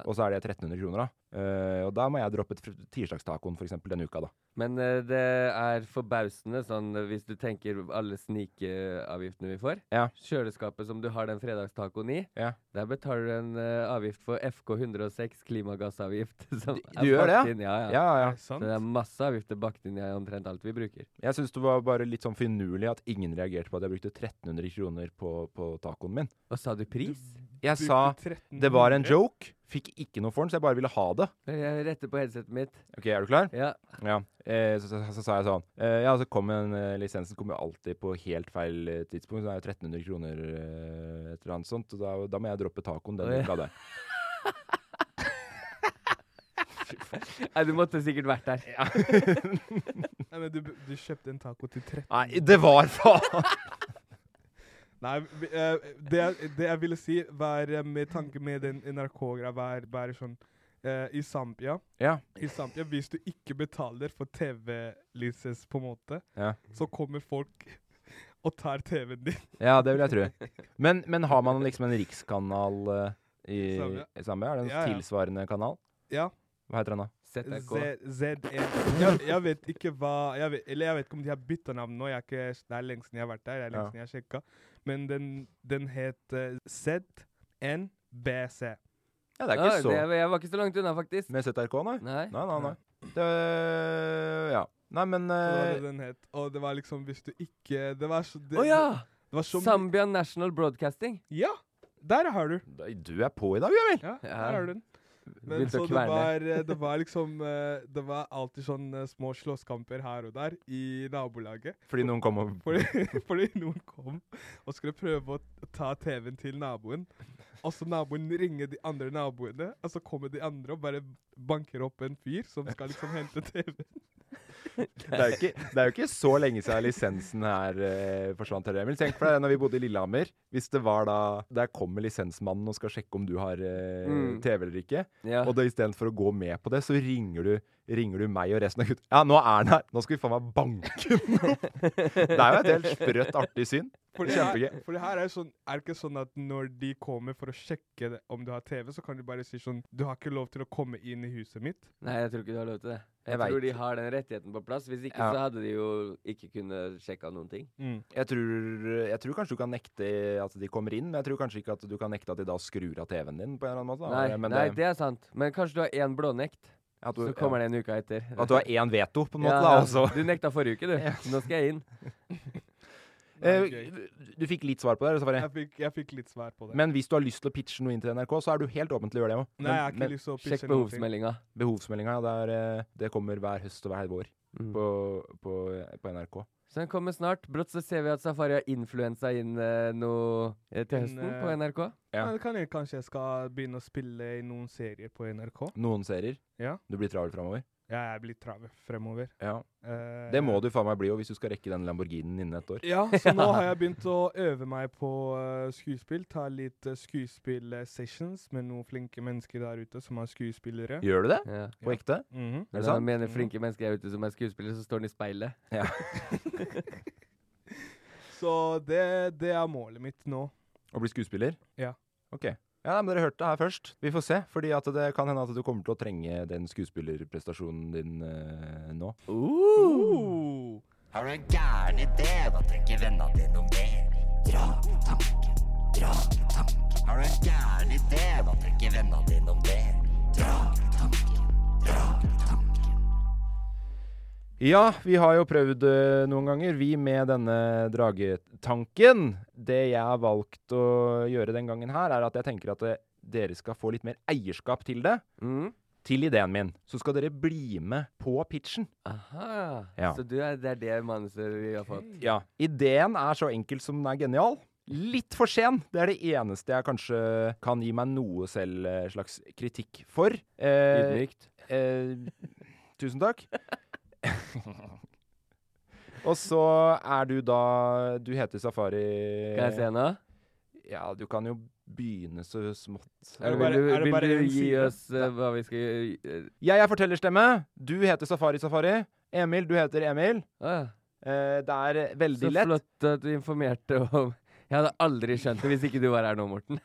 Speaker 5: Og så er det 1300 kroner, da. Eh, og da må jeg droppe fr- tirsdagstacoen, for eksempel, denne uka, da.
Speaker 4: Men eh, det er forbausende, sånn eh, hvis du tenker alle snikeavgiftene vi får.
Speaker 5: Ja.
Speaker 4: Kjøleskapet som du har den fredagstacoen i,
Speaker 5: Ja.
Speaker 4: der betaler du en eh, avgift for FK106 klimagassavgift. Som
Speaker 5: du gjør det, ja?
Speaker 4: Inn, ja, ja.
Speaker 5: Ja, ja. Er det
Speaker 4: Så
Speaker 5: sant?
Speaker 4: det er masse avgifter bakt inn i omtrent alt vi bruker.
Speaker 5: Jeg syns det var bare litt sånn finurlig at ingen reagerte på at jeg brukte 1300 kroner på, på tacoen min.
Speaker 4: Og sa du pris?
Speaker 5: Jeg sa det var en joke, fikk ikke noe for den, så jeg bare ville ha det.
Speaker 4: eh, Jeg retter på headsetet mitt.
Speaker 5: Ok, er du klar?
Speaker 4: Ja.
Speaker 5: Eh, så, så, så, sa jeg sånn eh, Ja, så kom en, eh, lisensen kom jo alltid på helt feil eh, tidspunkt, så det er jo 1300 kroner eh, et eller annet sånt, og da, da må jeg droppe tacoen
Speaker 4: Oi.
Speaker 5: denne uka der.
Speaker 4: Nei, du måtte sikkert vært der.
Speaker 3: Nei, men du, b- du kjøpte en taco til 13
Speaker 5: Nei, det var faen
Speaker 3: Nei, vi- eh, det, jeg- det jeg ville si, var eh, med tanke med den NRK-greia, var bare sånn eh, I Zambia
Speaker 5: Ja.
Speaker 3: I Zambia, hvis du ikke betaler for TV-lisens, på en måte,
Speaker 5: Ja.
Speaker 3: så kommer folk og tar TV-en din.
Speaker 5: Ja, det vil jeg tro. Men, men har man liksom en rikskanal eh, i
Speaker 3: Zambia.
Speaker 5: i Zambia? Er det en
Speaker 3: Ja, ja.
Speaker 5: tilsvarende kanal?
Speaker 3: Ja.
Speaker 5: Hva heter den da?
Speaker 3: Z- Z1. Jeg, jeg vet ikke hva jeg vet, Eller jeg vet ikke om de har bytta navn nå. Jeg er ikke, det er lenge siden jeg har vært der. Det er lenge
Speaker 5: Ja.
Speaker 3: siden jeg har sjekka. Men den, den het eh, ZNBC.
Speaker 5: Ja, det er ikke så
Speaker 4: det- Jeg var ikke så langt unna, faktisk.
Speaker 5: Med ZRK, nei?
Speaker 4: Nei.
Speaker 5: Nei, nei, nei. Det, ja. Nei, men
Speaker 3: Det var
Speaker 5: eh,
Speaker 3: det den het. Og det var liksom hvis du ikke Det var så det,
Speaker 4: Å ja!
Speaker 3: det var så mye-
Speaker 4: Zambia National Broadcasting.
Speaker 3: Ja! Der har du.
Speaker 5: Du er på i dag, Jamil!
Speaker 3: Ja, der har du den. Men
Speaker 4: Begynte å
Speaker 3: så det
Speaker 4: kverne.
Speaker 3: var, eh, det var liksom eh, Det var alltid sånn eh, små slåsskamper her og der i nabolaget.
Speaker 5: Fordi noen kom og
Speaker 3: Fordi, fordi noen kom og skulle prøve å ta TV-en til naboen. Og så naboen ringer de andre naboene, og så kommer de andre og bare banker opp en fyr som skal liksom hente TV-en.
Speaker 5: det er, jo ikke, det er jo ikke så lenge siden lisensen her eh, forsvant. Her, Emil. Tenk for deg når vi bodde i Lillehammer. Hvis det var da Der kommer lisensmannen og skal sjekke om du har eh,
Speaker 4: Mm.
Speaker 5: TV eller ikke.
Speaker 4: Ja.
Speaker 5: Og da istedenfor å gå med på det, så ringer du, ringer du meg og resten av gutta. Ja, nå er han her! Nå skal vi faen meg banke den opp! Det er jo et helt sprøtt, artig syn.
Speaker 3: For det
Speaker 5: Kjempegøy.
Speaker 3: her, for det her er, jo sånn, er det ikke sånn at når de kommer for å sjekke det- om du har TV, så kan de bare si sånn Du har ikke lov til å komme inn i huset mitt.
Speaker 4: Nei, jeg tror ikke du har lov til det. Jeg,
Speaker 5: Jeg
Speaker 4: tror
Speaker 5: vet.
Speaker 4: de har den rettigheten på plass. Hvis ikke
Speaker 5: Ja.
Speaker 4: så hadde de jo ikke kunnet sjekka noen ting.
Speaker 5: Jeg tror, jeg tror kanskje du kan nekte at de kommer inn, men jeg tror kanskje ikke at du kan nekte at de da skrur av TV-en din på en eller annen måte. da.
Speaker 4: Nei,
Speaker 5: men
Speaker 4: nei, det er sant. Men kanskje du har én blånekt,
Speaker 5: At du-
Speaker 4: så kommer
Speaker 5: ja.
Speaker 4: det en uke etter.
Speaker 5: At du har én veto, på en måte,
Speaker 4: Ja,
Speaker 5: da, altså.
Speaker 4: ja.
Speaker 5: også.
Speaker 4: Du nekta forrige uke, du. Nå skal jeg inn.
Speaker 5: Eh, du fikk litt svar på det, Safari.
Speaker 3: Jeg fikk, jeg fikk litt svar på det.
Speaker 5: Men hvis du har lyst til å pitche noe inn til NRK, så er du helt åpen til å gjøre det òg.
Speaker 3: Nei, jeg har ikke lyst til å pitche Sjekk noe til. behovsmeldinga.
Speaker 5: Behovsmeldinga, ja. Det, er, eh, det kommer hver høst og hver vår på, på, på NRK.
Speaker 4: Mm. Så den kommer snart. Brått så ser vi at Safari har influensa inn eh, noe eh, til høsten
Speaker 3: Men, eh,
Speaker 4: på NRK.
Speaker 5: Ja.
Speaker 3: men det kan jeg, kanskje jeg skal begynne å spille i noen serier på NRK?
Speaker 5: Noen serier.
Speaker 3: Ja.
Speaker 5: Du blir travel framover.
Speaker 3: Jeg er blitt travel fremover.
Speaker 5: Ja.
Speaker 3: Eh,
Speaker 5: Det må du faen meg bli jo hvis du skal rekke den Lamborghinien innen et år.
Speaker 3: Ja, så nå har jeg begynt å øve meg på eh, skuespill. Ta litt eh, skuespill-sessions med noen flinke mennesker der ute som er skuespillere.
Speaker 5: Gjør du det?
Speaker 4: Ja.
Speaker 5: På ekte?
Speaker 3: Mhm.
Speaker 5: Er det
Speaker 4: Når
Speaker 5: sant? Mm.
Speaker 4: han mener flinke mennesker er ute som er skuespillere, så står han i speilet.
Speaker 5: Ja.
Speaker 3: Så det, det er målet mitt nå.
Speaker 5: Å bli skuespiller?
Speaker 3: Ja.
Speaker 5: Ok. Ja, men Dere hørte det her først. Vi får se. fordi at det kan hende at du kommer til å trenge den skuespillerprestasjonen din eh, nå.
Speaker 10: Har du en gæren idé? Hva tenker vennene dine om det? Dra på tanken, dra på tanken. Har du en gæren idé? Hva tenker vennene dine om det? Dra på tanken, dra på tanken.
Speaker 5: Ja, vi har jo prøvd eh, noen ganger, vi med denne dragetanken. Det jeg har valgt å gjøre den gangen her, er at jeg tenker at eh, dere skal få litt mer eierskap til det.
Speaker 4: Mm.
Speaker 5: Til ideen min. Så skal dere bli med på pitchen.
Speaker 4: Aha.
Speaker 5: Ja.
Speaker 4: Så du er, det er det manuset vi har fått.
Speaker 5: Ja. Ideen er så enkel som den er genial. Litt for sen. Det er det eneste jeg kanskje kan gi meg noe selv eh, slags kritikk for. Eh,
Speaker 4: Ydmykt.
Speaker 5: Eh, tusen takk. Og så er du da Du heter Safari
Speaker 4: Kan jeg se nå?
Speaker 5: Ja, du kan jo begynne så smått.
Speaker 4: Vil du, vil du gi oss eh, hva vi skal eh, gjøre?
Speaker 5: Jeg er fortellerstemme. Du heter Safari Safari. Emil, du heter Emil. Eh, det er veldig
Speaker 4: Så
Speaker 5: lett.
Speaker 4: flott at du informerte om Jeg hadde aldri skjønt det hvis ikke du var her nå, Morten.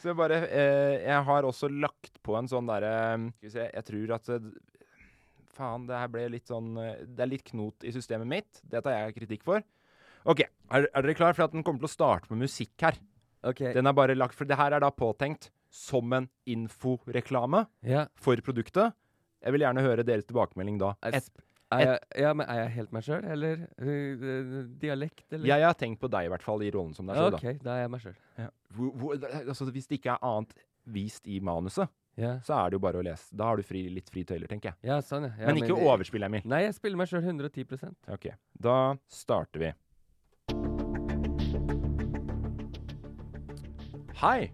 Speaker 5: Så jeg bare eh, Jeg har også lagt på en sånn derre Skal vi se, jeg tror at eh, Faen, det her ble litt sånn eh, Det er litt knot i systemet mitt. Det tar jeg kritikk for. OK, er, er dere klar for at den kommer til å starte med musikk her?
Speaker 4: Ok.
Speaker 5: Den er bare lagt For det her er da påtenkt som en inforeklame
Speaker 4: Ja.
Speaker 5: for produktet. Jeg vil gjerne høre deres tilbakemelding da.
Speaker 4: Er,
Speaker 5: Et,
Speaker 4: er, jeg, ja, men er jeg helt meg sjøl, eller eh, dialekt, eller?
Speaker 5: jeg har tenkt på deg i hvert fall i rollen som deg sjøl, da.
Speaker 4: OK, da er jeg meg sjøl.
Speaker 5: Ja. Hvor, hvor, altså, hvis det ikke er annet vist i manuset,
Speaker 4: Ja.
Speaker 5: så er det jo bare å lese. Da har du fri, litt fri tøyler, tenker jeg.
Speaker 4: Ja, sånn, ja. Ja,
Speaker 5: men ikke
Speaker 4: men-
Speaker 5: overspill, Emil.
Speaker 4: Nei, jeg spiller meg sjøl 110
Speaker 5: Ok, da starter vi. Hei!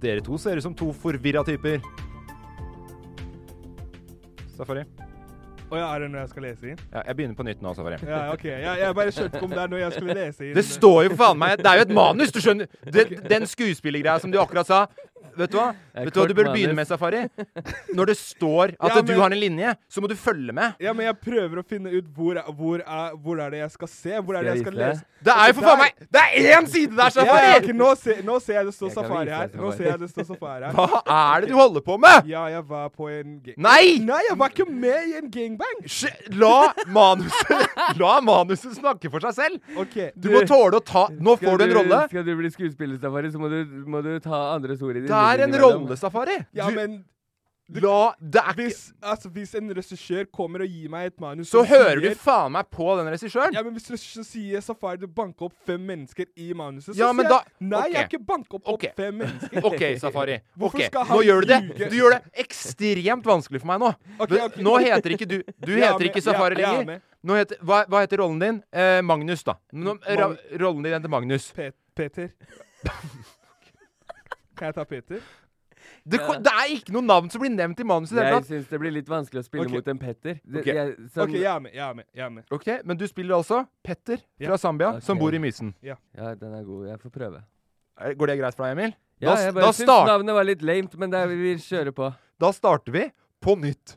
Speaker 5: Dere to ser ut som to forvirra typer. Safari.
Speaker 3: Og ja, er det når jeg skal lese inn?
Speaker 5: Ja, jeg begynner på nytt nå, Safari.
Speaker 3: Ja, ok. Jeg, jeg bare skjønte ikke om det er når jeg skulle lese inn.
Speaker 5: Det står jo faen meg Det er jo et manus, du skjønner! Det, den skuespillergreia som du akkurat sa. Vet du hva
Speaker 3: er
Speaker 5: Vet du hva du
Speaker 3: kort
Speaker 5: bør
Speaker 3: manus.
Speaker 5: begynne med, Safari? Når det står at
Speaker 3: Ja, men-
Speaker 5: du har en linje, så må du følge med.
Speaker 3: Ja, men jeg prøver å finne ut hvor, er- hvor, er, hvor er det jeg skal se? Hvor er det jeg skal lese?
Speaker 5: Det er jo for faen meg Det er én side der, Safari!
Speaker 3: Ja, ja, ok, nå, ser- nå ser jeg det står
Speaker 5: Jeg kan
Speaker 3: safari
Speaker 5: vise
Speaker 3: her.
Speaker 5: deg,
Speaker 3: Nå
Speaker 5: Safari.
Speaker 3: ser jeg det står safari her.
Speaker 5: Hva er det du holder på med?
Speaker 3: Ja, jeg var på en ga-
Speaker 5: Nei!
Speaker 3: Nei, jeg var ikke med i en gangbang!
Speaker 5: La manuset, la manuset snakke for seg selv! Du må tåle å ta Nå
Speaker 4: Skal
Speaker 5: får du en rolle.
Speaker 4: Skal du bli skuespillersafari, så må du, må du ta andres ord i din
Speaker 5: Det er en rollesafari!
Speaker 3: Ja, men
Speaker 5: La det er
Speaker 3: hvis, altså, hvis en regissør kommer og gir meg et manus
Speaker 5: Så
Speaker 3: som
Speaker 5: hører du
Speaker 3: sier-
Speaker 5: faen meg på den regissøren.
Speaker 3: Ja, men Hvis regissøren sier Safari du banker opp fem mennesker i manuset, så
Speaker 5: Ja, men
Speaker 3: sier
Speaker 5: da-
Speaker 3: jeg nei, jeg har
Speaker 5: ok.
Speaker 3: ikke banket opp, opp fem mennesker.
Speaker 5: OK, Safari.
Speaker 3: Hvorfor
Speaker 5: Ok,
Speaker 3: skal han
Speaker 5: Nå gjør du det.
Speaker 3: ljuge?
Speaker 5: Du gjør det ekstremt vanskelig for meg nå.
Speaker 3: Ok,
Speaker 5: Du-
Speaker 3: ok.
Speaker 5: Nå heter ikke du Du
Speaker 3: Jeg er
Speaker 5: heter
Speaker 3: med,
Speaker 5: ikke Safari
Speaker 3: jeg- jeg er
Speaker 5: lenger.
Speaker 3: med.
Speaker 5: Nå heter, hva, hva heter rollen din? Eh, Magnus, da. Nå, ra,
Speaker 3: Mag-
Speaker 5: rollen din heter Magnus.
Speaker 3: Pe Peter. kan jeg ta Peter?
Speaker 5: Det, ko- det er ikke noe navn som blir nevnt i manuset. i det hele
Speaker 4: Jeg
Speaker 5: tatt.
Speaker 4: syns det blir litt vanskelig å spille
Speaker 5: Ok.
Speaker 4: mot en Petter. Det-
Speaker 5: Ok.
Speaker 4: jeg- sånn-
Speaker 3: OK, jeg er med. Jeg er med. Jeg er med.
Speaker 5: Ok, Men du spiller altså Petter fra
Speaker 3: Ja.
Speaker 5: Zambia, som
Speaker 4: Ok.
Speaker 5: bor i Mysen.
Speaker 3: Ja.
Speaker 4: Ja, den er god. Jeg får prøve.
Speaker 5: Er- Går det greit for deg, Emil?
Speaker 4: Ja,
Speaker 5: s-
Speaker 4: jeg bare syns
Speaker 5: start-
Speaker 4: navnet var litt lamet, men det er, vi kjører på.
Speaker 5: da starter vi på nytt.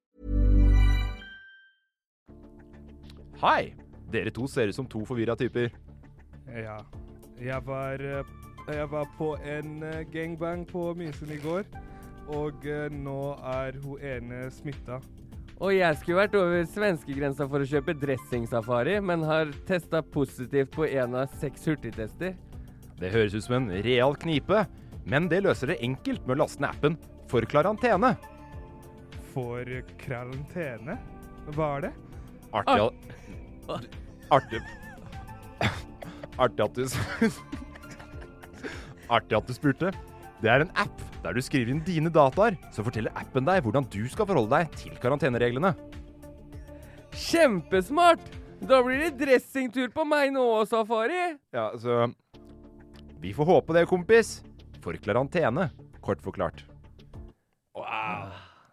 Speaker 5: Hei! Dere to ser ut som to forvirra typer.
Speaker 3: Ja. Jeg var, eh, jeg var på en eh, gangbang på Mysen i går, og eh, nå er hun ene smitta.
Speaker 4: Og jeg skulle vært over svenskegrensa for å kjøpe dressingsafari, men har testa positivt på én av seks hurtigtester.
Speaker 5: Det høres ut som en real knipe, men det løser dere enkelt med å laste ned appen for karantene.
Speaker 3: For karantene? Hva er det?
Speaker 5: Artig al- Artig Artig at du s- Artig at du spurte. Det er en app der du skriver inn dine dataer, så forteller appen deg hvordan du skal forholde deg til karantenereglene.
Speaker 4: Kjempesmart! Da blir det dressingtur på meg nå òg, Safari.
Speaker 5: Ja, så Vi får håpe det, kompis. For karantene, kort forklart.
Speaker 3: Wow.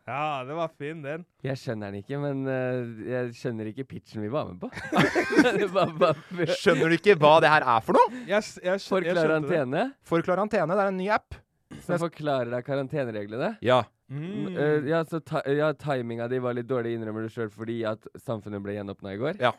Speaker 3: Ja, det var fin, den.
Speaker 4: Jeg skjønner den ikke, men eh, jeg skjønner ikke pitchen vi var med på. Det var bare-
Speaker 5: Skjønner du ikke hva det her er for noe?
Speaker 4: For jeg skjønte det. karantene?
Speaker 5: For karantene, det er en ny app.
Speaker 4: Som forklarer deg karantenereglene?
Speaker 5: Ja.
Speaker 4: Mm. eh, ja, så ta ja, timinga di var litt dårlig, innrømmer du sjøl, fordi at samfunnet ble gjenåpna i går?
Speaker 5: Ja.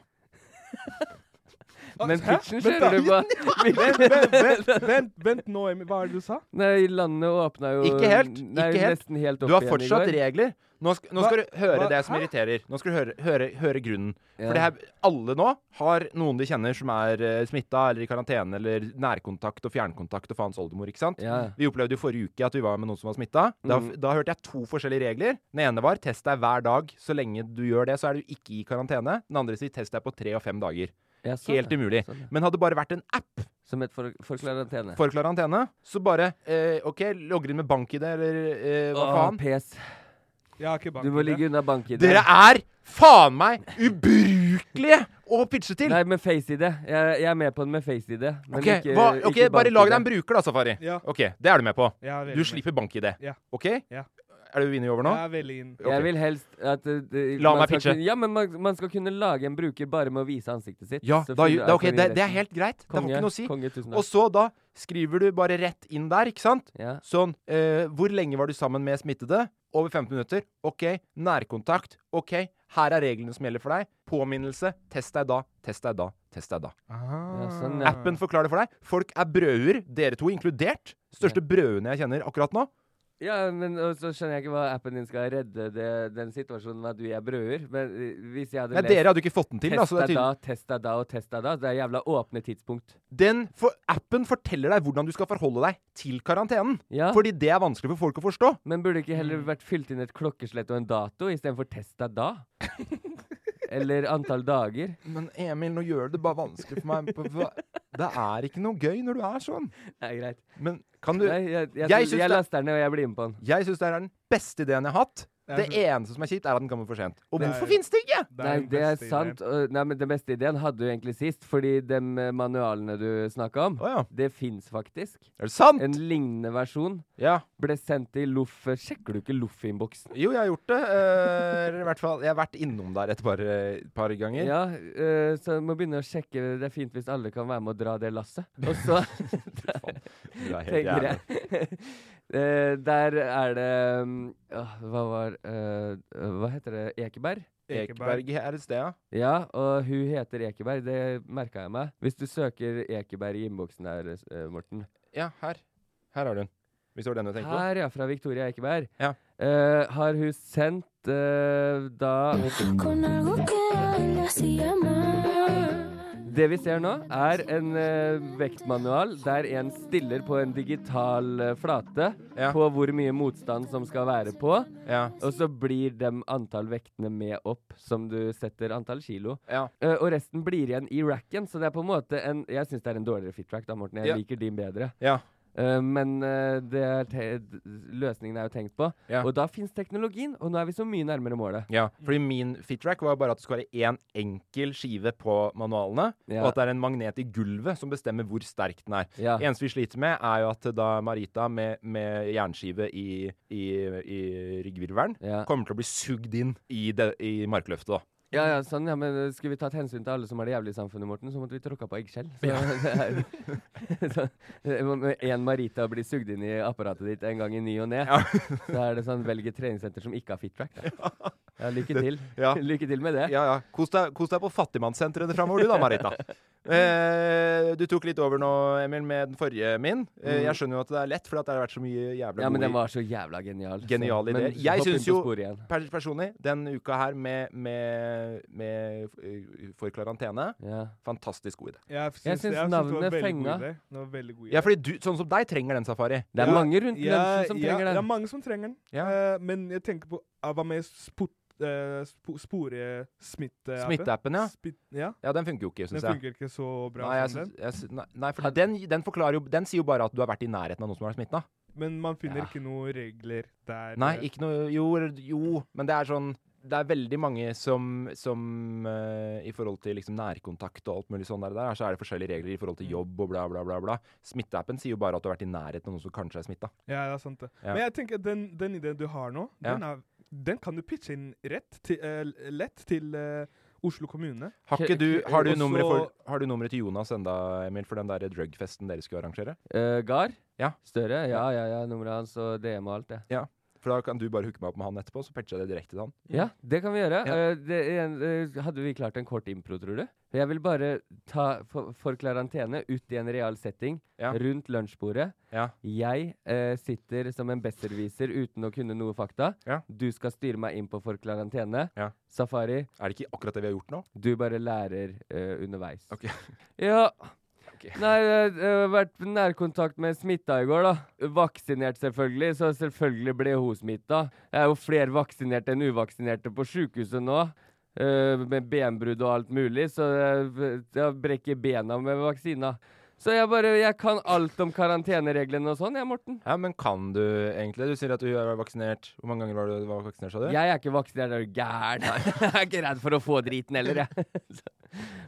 Speaker 4: Men
Speaker 3: Ah, Hæ?
Speaker 4: pitchen
Speaker 3: Vent
Speaker 4: kjører
Speaker 3: da.
Speaker 4: du på.
Speaker 3: Vent, vent, vent, vent, vent nå, Emil. Hva er det du sa?
Speaker 4: Nei, landet åpna jo
Speaker 5: Ikke helt.
Speaker 4: Nei,
Speaker 5: ikke helt.
Speaker 4: nesten helt opp
Speaker 5: du har
Speaker 4: igjen i
Speaker 5: fortsatt
Speaker 4: går.
Speaker 5: regler. Nå skal, nå
Speaker 4: Hva-
Speaker 5: skal du høre
Speaker 4: hva-
Speaker 5: det som
Speaker 4: hæ?
Speaker 5: irriterer. Nå skal du høre, høre, høre grunnen.
Speaker 4: Ja.
Speaker 5: For det her, alle nå har noen de kjenner som er uh, smitta eller i karantene eller nærkontakt og fjernkontakt og faens oldemor, ikke sant?
Speaker 4: Ja.
Speaker 5: Vi opplevde jo forrige uke at vi var med noen som var smitta. Da,
Speaker 4: Mm.
Speaker 5: da hørte jeg to forskjellige regler. Den ene var test deg hver dag. Så lenge du gjør det, så er du ikke i karantene. Den andre sier test deg på tre og fem dager.
Speaker 4: Ja, sånn,
Speaker 5: Helt
Speaker 4: ja.
Speaker 5: umulig.
Speaker 4: Sånn, ja.
Speaker 5: Men hadde det bare vært en app
Speaker 4: Som et for, for karantene.
Speaker 5: for karantene, så bare eh, OK, logger inn med bank-ID eller eh, hva
Speaker 4: Åh,
Speaker 5: faen.
Speaker 4: pes.
Speaker 3: Jeg har ikke
Speaker 4: Du må ligge unna bank-ID.
Speaker 5: Dere er faen meg ubrukelige å pitche til!
Speaker 4: Nei, med face-ID. Jeg, jeg er med på den med face-ID. men
Speaker 5: Ok,
Speaker 4: ikke-
Speaker 5: hva, ok,
Speaker 4: ikke
Speaker 5: Bare lag deg en
Speaker 4: bank-ID.
Speaker 5: bruker, da, Safari.
Speaker 4: Ja.
Speaker 5: Ok, Det er du med på.
Speaker 4: Ja, veldig
Speaker 5: du
Speaker 4: med.
Speaker 5: slipper bank-ID.
Speaker 4: Ja.
Speaker 5: Ok?
Speaker 3: Ja.
Speaker 5: Er du inne over nå?
Speaker 3: Jeg er veldig inn.
Speaker 5: Ok.
Speaker 4: Jeg vil helst at uh, det-
Speaker 5: La
Speaker 4: man
Speaker 5: meg
Speaker 4: skal
Speaker 5: pitche.
Speaker 4: Kunne, ja, men man, man skal kunne lage en bruker bare med å vise ansiktet sitt.
Speaker 5: Ja,
Speaker 4: Så
Speaker 5: da,
Speaker 4: finner
Speaker 5: da, ok,
Speaker 4: algoritmen
Speaker 5: det, det er
Speaker 4: resten.
Speaker 5: helt greit. det har
Speaker 4: liksom. Konge,
Speaker 5: ikke noe å si.
Speaker 4: Konge, tusen
Speaker 5: Og
Speaker 4: takk.
Speaker 5: så da skriver du bare rett inn der, ikke sant?
Speaker 4: Ja.
Speaker 5: Sånn eh, Hvor lenge var du sammen med smittede? Over 15 minutter. OK. Nærkontakt. OK. Her er reglene som gjelder for deg. Påminnelse. Test deg da. Test deg da. Test deg da.
Speaker 4: sånn, ja.
Speaker 5: Appen forklarer det for deg. Folk er brøduer, dere to inkludert. Største brødene jeg kjenner akkurat nå.
Speaker 4: Ja, men og så skjønner jeg ikke hva appen din skal redde det, den situasjonen med at vi er brøder. Men eh, hvis jeg hadde
Speaker 5: Nei, dere altså hadde ikke fått den til, da,
Speaker 4: Test
Speaker 5: så det er
Speaker 4: deg da, test deg da og test deg da. Det er jævla åpne tidspunkt.
Speaker 5: Den for, appen forteller deg hvordan du skal forholde deg til karantenen. Fordi Mm. det er vanskelig for folk å forstå.
Speaker 4: Men burde ikke heller vært fylt inn et klokkeslett og en dato istedenfor test deg da? Eller antall dager.
Speaker 5: Men Emil, nå gjør du det bare vanskelig for meg. på- hva- Det er ikke noe gøy når du er sånn.
Speaker 4: Det er greit.
Speaker 5: Men kan du
Speaker 4: Nei, jeg, jeg,
Speaker 5: Jeg
Speaker 4: jeg,
Speaker 5: syns
Speaker 4: jeg
Speaker 5: det-
Speaker 4: laster den ned, og jeg blir med på den.
Speaker 5: Jeg syns det er den beste ideen jeg har hatt. Det eneste som er kjipt, er at den kommer for sent. Og
Speaker 4: Men-
Speaker 5: hvorfor finnes det ikke?!
Speaker 4: Nei, det er sant. og- Nei, men Den beste ideen hadde du egentlig sist, fordi de manualene du snakka om, det fins faktisk.
Speaker 5: Er det sant?
Speaker 4: En lignende versjon ble sendt i Loff... Sjekker du ikke Loff-innboksen?
Speaker 5: Jo, jeg har gjort det. eh, i hvert fall, jeg har vært innom der et par, eh, par ganger.
Speaker 4: Ja, eh, så jeg må begynne å sjekke. Det er fint hvis alle kan være med å dra det lasset. Og så
Speaker 5: du er helt
Speaker 4: tenker jeg Eh, Der er det mm, åh, Hva var eh, Hva heter det? Ekeberg?
Speaker 5: Ekeberg er et sted, ja.
Speaker 4: Ja, og hun heter Ekeberg. Det merka jeg meg. Hvis du søker Ekeberg i innboksen der, eh, Morten.
Speaker 5: Ja, her. Her har du den. Hvis det var den du tenkte på.
Speaker 4: Her, ja. Fra Victoria Ekeberg. Eh, har hun sendt eh, da Det vi ser nå, er en eh, vektmanual der en stiller på en digital eh, flate på hvor mye motstand som skal være på, og så blir de antall vektene med opp som du setter antall kilo. Eh, og resten blir igjen i racken, så det er på en måte en Jeg syns det er en dårligere fit track, da, Morten. Jeg
Speaker 5: Ja.
Speaker 4: liker din bedre.
Speaker 5: Ja.
Speaker 4: Eh, men eh, det er te d- løsningen er jo tenkt på.
Speaker 5: Ja.
Speaker 4: Og da fins teknologien, og nå er vi så mye nærmere målet.
Speaker 5: Ja, fordi min fitrack var bare at det skulle være én enkel skive på manualene,
Speaker 4: Ja.
Speaker 5: og at det er en magnet i gulvet som bestemmer hvor sterk den er.
Speaker 4: Ja.
Speaker 5: Det eneste vi sliter med, er jo at da Marita med, med jernskive i, i, i ryggvirvelen kommer til å bli sugd inn i, det, i markløftet, da.
Speaker 4: Ja, ja, sånn, ja, men eh, Skulle vi tatt hensyn til alle som har det jævlig i samfunnet, Morten, så måtte vi tråkka på eggskjell. Så det er- så, eh, Med én Marita blir sugd inn i apparatet ditt en gang i ny og ne, så er det sånn velg et treningssenter som ikke har fit track. Da. Ja, lykke
Speaker 5: Det-
Speaker 4: til.
Speaker 5: ja.
Speaker 4: Lykke til med det.
Speaker 5: Ja, ja. Kos deg, kos deg på fattigmannssenteret framover, du da, Marita. Eh, du tok litt over nå, Emil, med den forrige min. Eh,
Speaker 4: Mm.
Speaker 5: jeg skjønner jo at det er lett, for at det har vært så mye jævla
Speaker 4: Ja, men
Speaker 5: gode-
Speaker 4: den var så jævla genial. så-
Speaker 5: Geniale
Speaker 4: men
Speaker 5: ideer. Jeg
Speaker 4: hopp inn på
Speaker 5: syns jo
Speaker 4: sporet igjen.
Speaker 5: per, personlig, den uka her med, med, med eh, For karantene Fantastisk god idé.
Speaker 3: Jeg syns- Jeg syns jeg syns det var navnet veldig god fenga. idé. Det var veldig god idé.
Speaker 5: Ja, fordi du, sånn som deg, trenger den safari.
Speaker 3: Ja, ja, ja, Det er mange som trenger den. Eh, men jeg tenker på ah, Hva med sport, eh, spo, sporesmitte...
Speaker 5: Smitteappen, ja.
Speaker 3: ja.
Speaker 5: Ja, den funker jo ikke, syns jeg.
Speaker 3: Den funker ikke så bra sånn
Speaker 5: Nei, jeg
Speaker 3: som
Speaker 5: syns- jeg syns- nei, nei, for den, den forklarer jo Den sier jo bare at du har vært i nærheten av noen som har vært smitta.
Speaker 3: Men man finner
Speaker 5: Ja.
Speaker 3: ikke noen regler der.
Speaker 5: Nei,
Speaker 3: eh,
Speaker 5: ikke noe Jo, jo men det er sånn det er veldig mange som, som eh, i forhold til liksom nærkontakt og alt mulig sånn der, der, så er det forskjellige regler i forhold
Speaker 3: Mm.
Speaker 5: til jobb og bla, bla, bla. bla. Smitteappen sier jo bare at du har vært i nærheten av noen som kanskje er smitta.
Speaker 3: Ja, det er sant det.
Speaker 5: Ja.
Speaker 3: Men jeg tenker den, den ideen du har nå,
Speaker 5: Ja.
Speaker 3: den, er, den kan du pitche inn rett til, eh, lett til eh, Oslo kommune.
Speaker 5: Har, ikke du, har, du
Speaker 3: Og så-
Speaker 5: nummeret for- har du nummeret til Jonas enda, Emil, for den der drugfesten dere skulle arrangere?
Speaker 4: Eh, Gar?
Speaker 5: Ja.
Speaker 4: Støre? Ja, ja, ja. Nummeret hans og DM og alt, det.
Speaker 5: Ja, for da kan du bare hooke meg opp med han etterpå, så patcher jeg det direkte til han.
Speaker 4: Ja, det kan vi gjøre.
Speaker 5: Ja.
Speaker 4: Eh, det, en- eh, hadde vi klart en kort impro, tror du? Jeg vil bare ta for, for karantene ut i en real setting, rundt lunsjbordet. Jeg eh, sitter som en besserviser uten å kunne noe fakta. Du skal styre meg inn på for karantene. Safari.
Speaker 5: Er det ikke akkurat det vi har gjort nå?
Speaker 4: Du bare lærer eh, underveis. Ja. Nei, jeg har vært i nærkontakt med smitta i går, da. Vaksinert, selvfølgelig, så selvfølgelig ble hun smitta. Jeg er jo flere vaksinerte enn uvaksinerte på sjukehuset nå. eh, med benbrudd og alt mulig, så jeg, jeg brekker bena med vaksina. Så jeg bare Jeg kan alt om karantenereglene og sånn, jeg, Morten.
Speaker 5: Ja, men kan du egentlig? Du sier at du er vaksinert. Hvor mange ganger var du var vaksinert, sa du?
Speaker 4: Jeg er ikke vaksinert, er du gæren? Jeg er ikke redd for å få driten heller, jeg.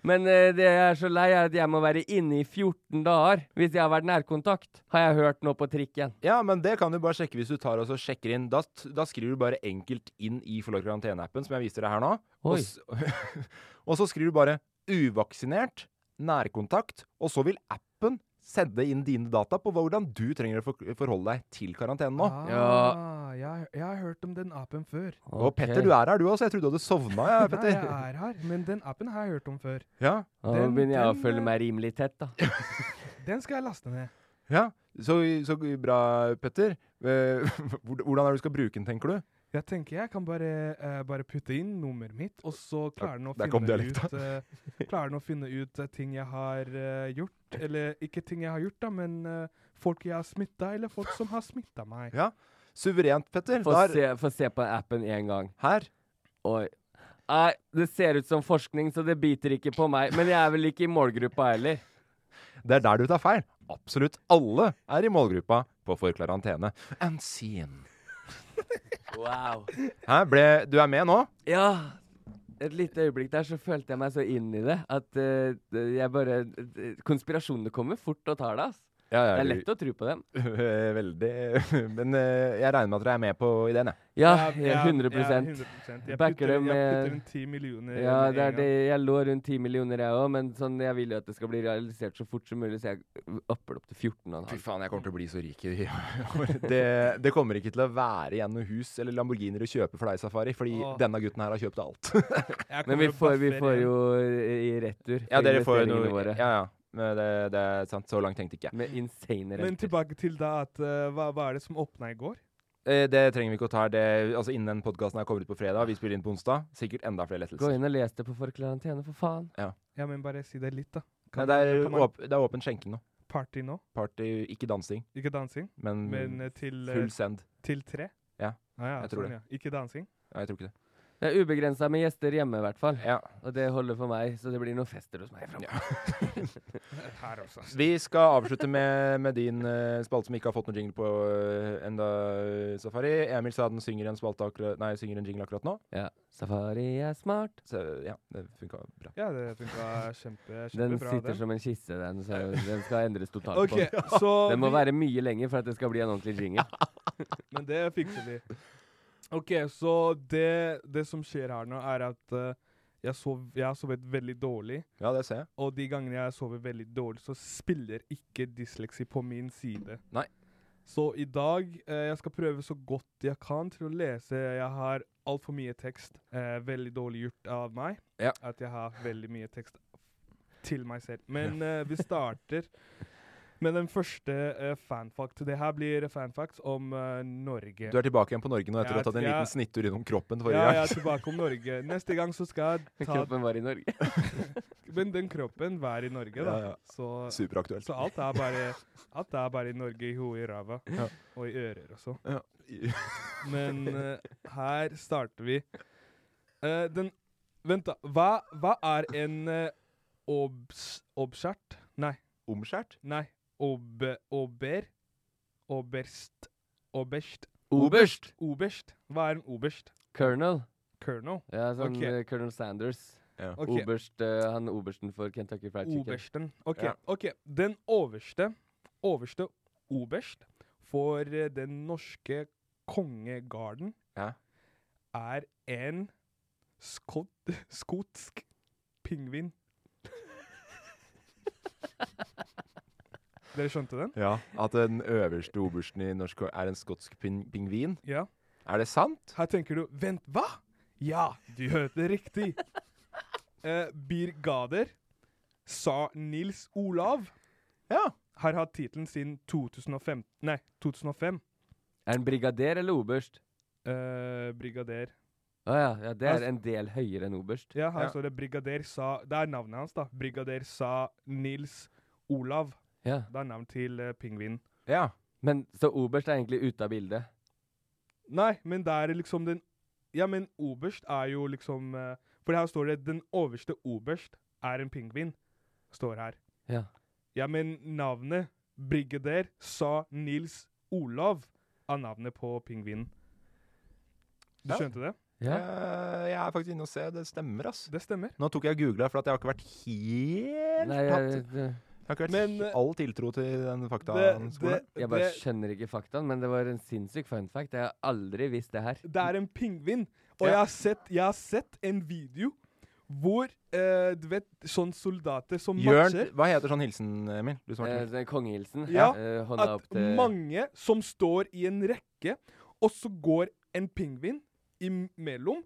Speaker 4: Men eh, det jeg er så lei, er at jeg må være inne i 14 dager hvis jeg har vært nærkontakt. Har jeg hørt nå på trikken.
Speaker 5: Ja, men det kan du bare sjekke hvis du tar og så sjekker inn. Da, t- da skriver du bare enkelt inn i Forlag karantene-appen, som jeg viser deg her nå.
Speaker 4: Oi.
Speaker 5: Og, s- og så skriver du bare 'uvaksinert', 'nærkontakt', og så vil appen sende inn dine data på hvordan du trenger å for- forholde deg til karantenen nå.
Speaker 3: Ah, jeg, jeg har hørt om den apen før.
Speaker 5: Og Petter, du er her du også. Jeg trodde du hadde sovna, ja,
Speaker 3: Nei, jeg
Speaker 5: Petter.
Speaker 3: er her, men den appen har jeg hørt om før.
Speaker 5: Ja.
Speaker 4: Nå begynner jeg å følge meg rimelig tett, da.
Speaker 3: Den skal jeg laste ned.
Speaker 5: Ja, så, så bra, Petter. Eh, hvor- Hvordan er det du skal bruke den, tenker du?
Speaker 3: Jeg tenker jeg kan bare, eh, bare putte inn nummeret mitt, og så klarer den å
Speaker 5: der kom
Speaker 3: finne
Speaker 5: dialekta.
Speaker 3: ut, eh, klarer den å finne ut eh, ting jeg har eh, gjort. Eller ikke ting jeg har gjort, da, men eh, folk jeg har smitta, eller folk som har smitta meg.
Speaker 5: Ja, suverent, Petter.
Speaker 4: Få,
Speaker 3: Der-
Speaker 4: se, få se på appen én gang.
Speaker 5: Her.
Speaker 4: Oi. Nei, det ser ut som forskning, så det biter ikke på meg. Men jeg er vel ikke i målgruppa heller.
Speaker 5: Det er der du tar feil. Absolutt alle er i målgruppa på For karantene. And seen.
Speaker 4: Wow.
Speaker 5: Hæ? Ble, du er med nå?
Speaker 4: Ja. Et lite øyeblikk der så følte jeg meg så inn i det at eh, det- jeg bare eh, Konspirasjonene kommer fort og tar det, ass.
Speaker 5: Ja,
Speaker 4: det er
Speaker 5: ja, du-
Speaker 4: lett å tro på dem.
Speaker 5: Veldig. Men eh, jeg regner med at dere er med på ideen, jeg.
Speaker 4: Ja,
Speaker 3: Ja, ja,
Speaker 4: 100
Speaker 3: Jeg
Speaker 4: Backer
Speaker 3: putter-
Speaker 4: det
Speaker 3: jeg
Speaker 4: med-
Speaker 3: putter inn 10 millioner
Speaker 4: Ja,
Speaker 3: med
Speaker 4: det
Speaker 3: en
Speaker 4: er det. Jeg lå rundt 10 millioner, jeg òg, men sånn, jeg vil jo at det skal bli realisert så fort som mulig, så jeg upper det opp til 14,5.
Speaker 5: Fy faen, jeg kommer til å bli så rik i det, det kommer ikke til å være igjen noe hus eller Lamborghiner å kjøpe for deg, Safari, fordi
Speaker 4: Åh.
Speaker 5: denne gutten her har kjøpt alt.
Speaker 4: Men vi får, vi får jo i retur
Speaker 5: Ja, dere får jo
Speaker 4: investeringene
Speaker 5: noe
Speaker 4: våre.
Speaker 5: Ja, ja. Men det, det er sant. Så langt tenkte ikke jeg.
Speaker 4: Med insane
Speaker 3: Men tilbake til da at eh, hva, hva er det som åpna i går?
Speaker 5: Eh, Det trenger vi ikke å ta her. Det, altså Innen den podkasten her kommer ut på fredag, vi spiller inn på onsdag, sikkert enda flere lettelser.
Speaker 4: Gå inn og les det på Forklarantene, for faen.
Speaker 5: Ja.
Speaker 3: Ja, men bare si det litt, da.
Speaker 5: Nei,
Speaker 3: Kan
Speaker 5: det,
Speaker 3: man-
Speaker 5: er
Speaker 3: kan man-
Speaker 5: åp, det er åpen skjenking nå.
Speaker 3: Party nå?
Speaker 5: Party, ikke dansing.
Speaker 3: Ikke dansing?
Speaker 5: Men,
Speaker 3: Men, eh, til, eh,
Speaker 5: Mm, full send.
Speaker 3: Til tre?
Speaker 5: Ja,
Speaker 3: Ah, ja,
Speaker 5: jeg tror
Speaker 3: sånn,
Speaker 5: det.
Speaker 3: Ja. Ikke dansing?
Speaker 5: Nei, jeg tror ikke det.
Speaker 4: Det er ubegrensa med gjester hjemme, i hvert fall.
Speaker 5: Ja.
Speaker 4: Og det holder for meg, så det blir noen fester hos meg framover.
Speaker 3: Her også.
Speaker 5: Vi skal avslutte med, med din eh, spalte som ikke har fått noen jingle på eh, enda, eh, Safari. Emil sa den synger en, spalte akkurat, nei, synger en jingle akkurat nå.
Speaker 4: Ja. Safari er smart.
Speaker 5: Så, ja, det funka bra.
Speaker 3: Ja, det funka kjempe,
Speaker 4: Den
Speaker 3: kjempebra.
Speaker 4: sitter som en kisse, den, så den skal endres totalt
Speaker 3: Ok,
Speaker 4: på.
Speaker 3: så
Speaker 4: den må
Speaker 3: vi-
Speaker 4: være mye lenger for at det skal bli en ordentlig jingle.
Speaker 3: Men det fikser vi. OK, så det, det som skjer her nå, er at eh, jeg, sov, jeg har sovet veldig dårlig.
Speaker 5: Ja, det ser jeg.
Speaker 3: Og de gangene jeg sover veldig dårlig, så spiller ikke dysleksi på min side.
Speaker 5: Nei.
Speaker 3: Så i dag eh, jeg skal prøve så godt jeg kan til å lese. Jeg har altfor mye tekst. Eh, veldig dårlig gjort av meg
Speaker 5: Ja.
Speaker 3: at jeg har veldig mye tekst til meg selv. Men eh, vi starter med den første eh, fanfact. Det her blir fanfacts om eh, Norge.
Speaker 5: Du er tilbake igjen på Norge nå etter å ha
Speaker 3: Jeg-
Speaker 5: tatt en liten
Speaker 3: jeg-
Speaker 5: snittur innom kroppen forrige
Speaker 3: ja,
Speaker 5: gang.
Speaker 3: jeg er tilbake om Norge. Neste gang så skal jeg ta
Speaker 4: Kroppen var i Norge.
Speaker 3: Men den kroppen var i Norge, da.
Speaker 5: Ja, ja.
Speaker 3: Så,
Speaker 5: Superaktuelt.
Speaker 3: Så alt er bare, alt er bare i Norge, i hodet, i ræva
Speaker 5: Ja.
Speaker 3: og i ører også.
Speaker 5: Ja.
Speaker 3: Men eh, her starter vi. Eh, den Vent, da. Hva, hva er en uh, obs... Obskjert? Nei.
Speaker 5: Omskjært?
Speaker 3: Nei. Ob... Ober? Oberst? Oberst?
Speaker 4: Oberst.
Speaker 3: Oberst. Hva er en oberst?
Speaker 4: Colonel.
Speaker 3: Colonel?
Speaker 4: Ja, sånn
Speaker 3: Ok.
Speaker 4: eh, Colonel Sanders.
Speaker 3: Ok.
Speaker 4: Oberst, eh, han obersten for Kentucky Fried Chicken.
Speaker 3: Obersten. Ok,
Speaker 4: Ja.
Speaker 3: ok. Den overste, overste oberst for eh, den norske kongegarden
Speaker 5: Ja.
Speaker 3: er en skot, skotsk pingvin. Dere skjønte den?
Speaker 5: Ja, At den øverste obersten i norsk er en skotsk pin pingvin?
Speaker 3: Ja.
Speaker 5: Er det sant?
Speaker 3: Her tenker du Vent, hva? Ja, du hørte riktig. Eh, Birgader sa Nils Olav har hatt tittelen siden 2005. Nei, 2005.
Speaker 4: Er han brigader eller oberst?
Speaker 3: Eh, brigader.
Speaker 4: Å ja, ja, det
Speaker 3: Altså-
Speaker 4: er en del høyere enn oberst.
Speaker 3: Ja, her står det Brigader sa Det er navnet hans, da. Brigader sa Nils Olav.
Speaker 4: Ja.
Speaker 3: Det er navn til eh, pingvinen.
Speaker 5: Ja.
Speaker 4: Men så oberst er egentlig ute av bildet?
Speaker 3: Nei, men det er liksom den Ja, men oberst er jo liksom eh, For her står det 'Den overste oberst er en pingvin'. Står her.
Speaker 4: Ja.
Speaker 3: Ja, men navnet Brigader sa Nils Olav av navnet på pingvinen. Du
Speaker 5: Ja.
Speaker 3: skjønte det?
Speaker 5: Eh, jeg er faktisk inne og ser. Det stemmer, ass.
Speaker 3: Det stemmer.
Speaker 5: Nå tok jeg og googla, for at jeg har ikke vært helt
Speaker 4: Nei,
Speaker 5: tatt
Speaker 4: jeg, det,
Speaker 5: Jeg har ikke vært he- all tiltro til den faktaen. skole.
Speaker 4: jeg bare skjønner ikke faktaen, men det var en sinnssyk fun fact. Jeg har aldri visst det her.
Speaker 3: Det er en pingvin. Og
Speaker 4: Ja.
Speaker 3: jeg, har sett, jeg har sett en video hvor eh, Du vet, sånn soldater som matcher
Speaker 5: Jørn, hva heter sånn hilsen, Emil? Du som har vært
Speaker 4: Eh,
Speaker 5: med.
Speaker 4: det er kongehilsen.
Speaker 3: Ja,
Speaker 4: Eh, hånda opp
Speaker 3: at
Speaker 4: til
Speaker 3: mange som står i en rekke, og så går en pingvin imellom.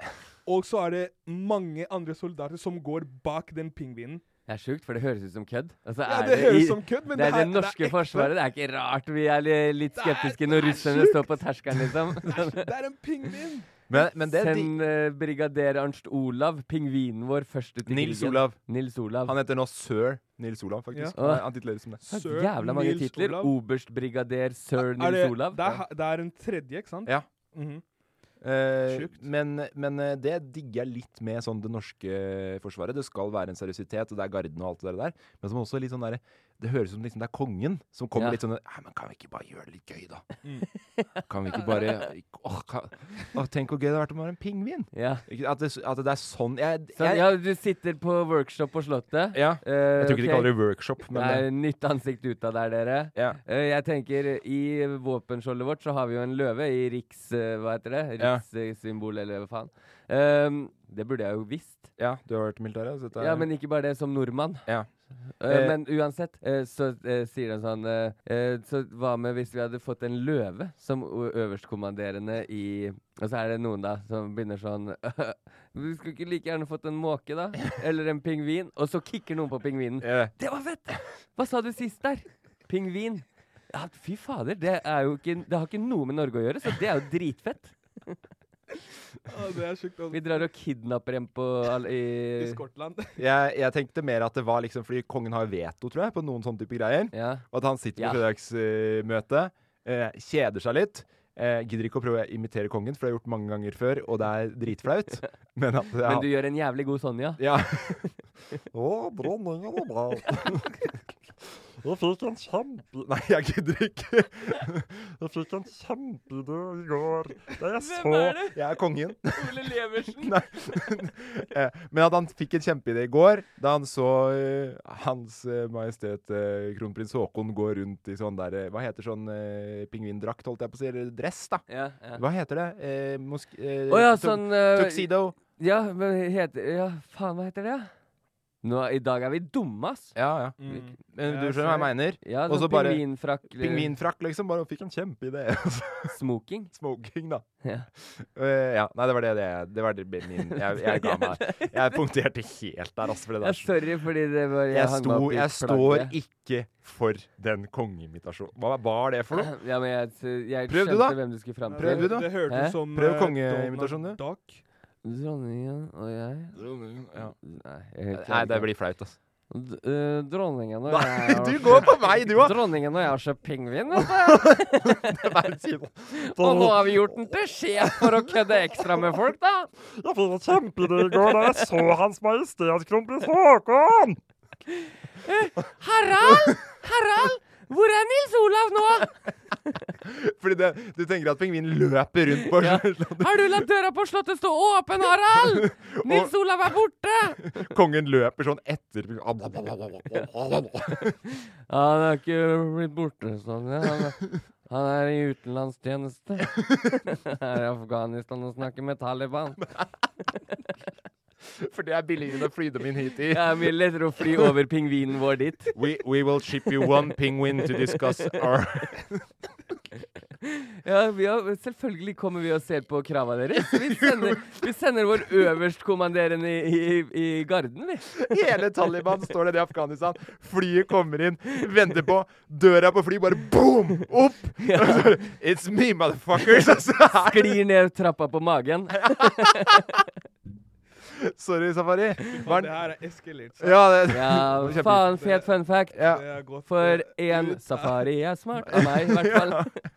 Speaker 3: Og så er det mange andre soldater som går bak den pingvinen.
Speaker 4: Det er sjukt, for det høres ut som kødd. Altså,
Speaker 3: Ja,
Speaker 4: er
Speaker 3: det høres
Speaker 4: i-
Speaker 3: som kødd,
Speaker 4: det
Speaker 3: men det
Speaker 4: er
Speaker 3: her-
Speaker 4: det
Speaker 3: det er
Speaker 4: norske
Speaker 3: ekte.
Speaker 4: forsvaret. Det er ikke rart vi er li- litt skeptiske
Speaker 3: det
Speaker 4: når
Speaker 3: er
Speaker 4: russerne
Speaker 3: sjukt.
Speaker 4: står på terskelen, liksom.
Speaker 3: Det er en pingvin!
Speaker 5: Men, men det, de,
Speaker 4: Send eh, brigader Ernst Olav, pingvinen vår, først ut i
Speaker 5: Nils
Speaker 4: krigen.
Speaker 5: Olav.
Speaker 4: Nils Olav.
Speaker 5: Han heter nå sør Nils Olav, faktisk.
Speaker 4: Ja.
Speaker 5: Han- Han tituleres som det.
Speaker 4: Det er Jævla mange
Speaker 3: Nils
Speaker 4: titler.
Speaker 3: Olav.
Speaker 4: Oberstbrigader sir
Speaker 3: Er det,
Speaker 4: Nils Olav.
Speaker 3: det, er, ha- det er en tredje, ikke sant?
Speaker 5: Ja.
Speaker 3: Mhm.
Speaker 5: Eh,
Speaker 3: Sjukt.
Speaker 5: men, men eh, det digger jeg litt med sånn det norske forsvaret. Det skal være en seriøsitet, og det er garden og alt det der. Men som også er litt sånn derre Det høres ut som liksom det er kongen som kommer
Speaker 6: Ja.
Speaker 5: litt sånn «Nei, men Kan vi ikke bare gjøre det litt gøy, da?
Speaker 4: Mm.
Speaker 5: Kan vi ikke bare åh, kan, åh, Tenk hvor gøy det hadde vært om det var en pingvin! Ikke- At, det, at det er sånn jeg,
Speaker 4: Så,
Speaker 5: jeg-
Speaker 4: ja, du sitter på workshop på Slottet. Eh,
Speaker 5: Ja. Jeg tror ikke de kaller det workshop, men eh,
Speaker 4: Nei,
Speaker 5: det-
Speaker 4: Nytt ansikt ut av der, dere. Eh, jeg tenker, I våpenskjoldet vårt så har vi jo en løve i riks... eh, hva heter det?
Speaker 5: Ja.
Speaker 4: Rikssymbol, eller hva faen. Ehm, det burde jeg jo visst.
Speaker 5: Ja, du har vært i militæret? så dette er-
Speaker 4: Ja, men ikke bare det, som nordmann.
Speaker 5: Ja.
Speaker 4: Eh,
Speaker 5: Eh,
Speaker 4: men uansett, eh, så eh, sier han sånn eh, eh, Så hva med hvis vi hadde fått en løve som o- øverstkommanderende i Og så er det noen da som begynner sånn Vi skulle ikke like gjerne fått en måke, da? Eller en pingvin? Og så kicker noen på pingvinen. Det var fett! Hva sa du sist der? Pingvin. Ja, fy fader, det, er jo ikke, det har ikke noe med Norge å gjøre, så det er jo dritfett.
Speaker 3: det er sjukt.
Speaker 4: Vi drar og kidnapper en på all- i,
Speaker 3: I Skottland.
Speaker 5: jeg, jeg tenkte mer at det var liksom fordi kongen har veto, tror jeg, på noen sånne type greier. Og at han sitter på
Speaker 4: Ja.
Speaker 5: fredagsmøte, eh, kjeder seg litt. Eh, gidder ikke å prøve å imitere kongen, for det har jeg gjort mange ganger før, og det er dritflaut. Men, at,
Speaker 4: Men du gjør en jævlig god Sonja.
Speaker 5: Ja. Å, dronninga var bra. Jeg fikk en kjempe... Nei, jeg gidder ikke. Jeg fikk en kjempeidé i går. Da jeg
Speaker 4: Hvem
Speaker 5: så
Speaker 4: er det?
Speaker 5: Jeg er kongen.
Speaker 4: Ole Leversen.
Speaker 5: Nei. Eh, Men at han fikk en kjempeidé i går, da han så eh, Hans eh, Majestet eh, Kronprins Haakon gå rundt i sånn der eh, Hva heter sånn eh, pingvindrakt, holdt jeg på å si? Eller dress, da.
Speaker 4: Ja, ja.
Speaker 5: Hva heter det? Eh, mosk... Eh,
Speaker 4: Å ja,
Speaker 5: tux-
Speaker 4: sånn eh,
Speaker 5: Tuxedo.
Speaker 4: Ja, men heter Ja, faen, hva heter det? Nå, I dag er vi dumme, ass.
Speaker 5: Ja, ja.
Speaker 3: Mm.
Speaker 5: Men Eh, du skjønner hva jeg mener?
Speaker 4: Ja,
Speaker 5: Og
Speaker 4: sånn
Speaker 5: så bare-
Speaker 4: pingvinfrakk. eller-
Speaker 5: Pingvinfrakk, liksom. Bare fikk en kjempeidé.
Speaker 4: Smoking.
Speaker 5: Smoking, da.
Speaker 4: Ja.
Speaker 5: Eh, ja. Nei, det var det, det, det var det min Jeg, jeg ga meg. Jeg punkterte helt der, altså. For det
Speaker 4: Ja,
Speaker 5: der.
Speaker 4: sorry, fordi det var
Speaker 5: Jeg,
Speaker 4: hang meg
Speaker 5: sto,
Speaker 4: opp i
Speaker 5: jeg står
Speaker 4: plagget.
Speaker 5: ikke for den kongeimitasjonen. Hva var det for noe?
Speaker 4: Ja, men jeg, jeg
Speaker 5: Prøv du,
Speaker 4: skjønte
Speaker 5: da.
Speaker 4: hvem du skulle fram til.
Speaker 5: Prøv du, da.
Speaker 3: Det hørtes
Speaker 4: Hæ?
Speaker 3: ut som
Speaker 5: Prøv
Speaker 3: eh,
Speaker 5: kongeimitasjon,
Speaker 3: Donald Duck.
Speaker 4: Dronningen og jeg Nei, jeg
Speaker 5: Nei, det blir flaut, ass.
Speaker 4: D eh, dronningen og
Speaker 5: Nei,
Speaker 4: jeg
Speaker 5: du går på meg, du òg.
Speaker 4: Dronningen og jeg har kjøpt pingvin, vet du. Sånn. og nå har vi gjort den til sjef for å kødde ekstra med folk, da.
Speaker 5: Jeg fikk en kjempeidé i går da jeg så Hans Majestet Kronprins Haakon!
Speaker 4: Harald! Harald! Hvor er Nils Olav nå?
Speaker 5: Fordi det, du tenker at pingvinen løper rundt på sånn
Speaker 4: Har du latt døra på slottet stå åpen, Harald? Nils Olav er borte!
Speaker 5: Kongen løper sånn etter
Speaker 4: Ja, han har ikke blitt borte sånn. ja. Han, han er i utenlandstjeneste. Er i Afghanistan og snakker med Taliban.
Speaker 5: For det er billigere enn å fly dem inn hit i.
Speaker 4: Det er mye lettere å fly over pingvinen vår dit.
Speaker 5: We, we will ship you one penguin to discuss our
Speaker 4: Ja, vi har, selvfølgelig kommer vi og ser på krava deres. Vi sender, vi sender vår øverstkommanderende i, i, i garden, vi.
Speaker 5: Hele Taliban står der i Afghanistan. Flyet kommer inn, venter på døra på flyet, bare boom! Opp! It's me, motherfuckers! altså. Og så er det-
Speaker 4: Sklir ned trappa på magen.
Speaker 5: Sorry, Safari. Hva er
Speaker 3: Det
Speaker 5: den-
Speaker 3: her er eskalert.
Speaker 5: Ja, det-
Speaker 4: Ja,
Speaker 5: Kjempe-
Speaker 4: faen, fet fun fact.
Speaker 3: Det er godt,
Speaker 4: For
Speaker 3: eh,
Speaker 4: én
Speaker 3: ut.
Speaker 4: safari er smart av meg, i hvert fall.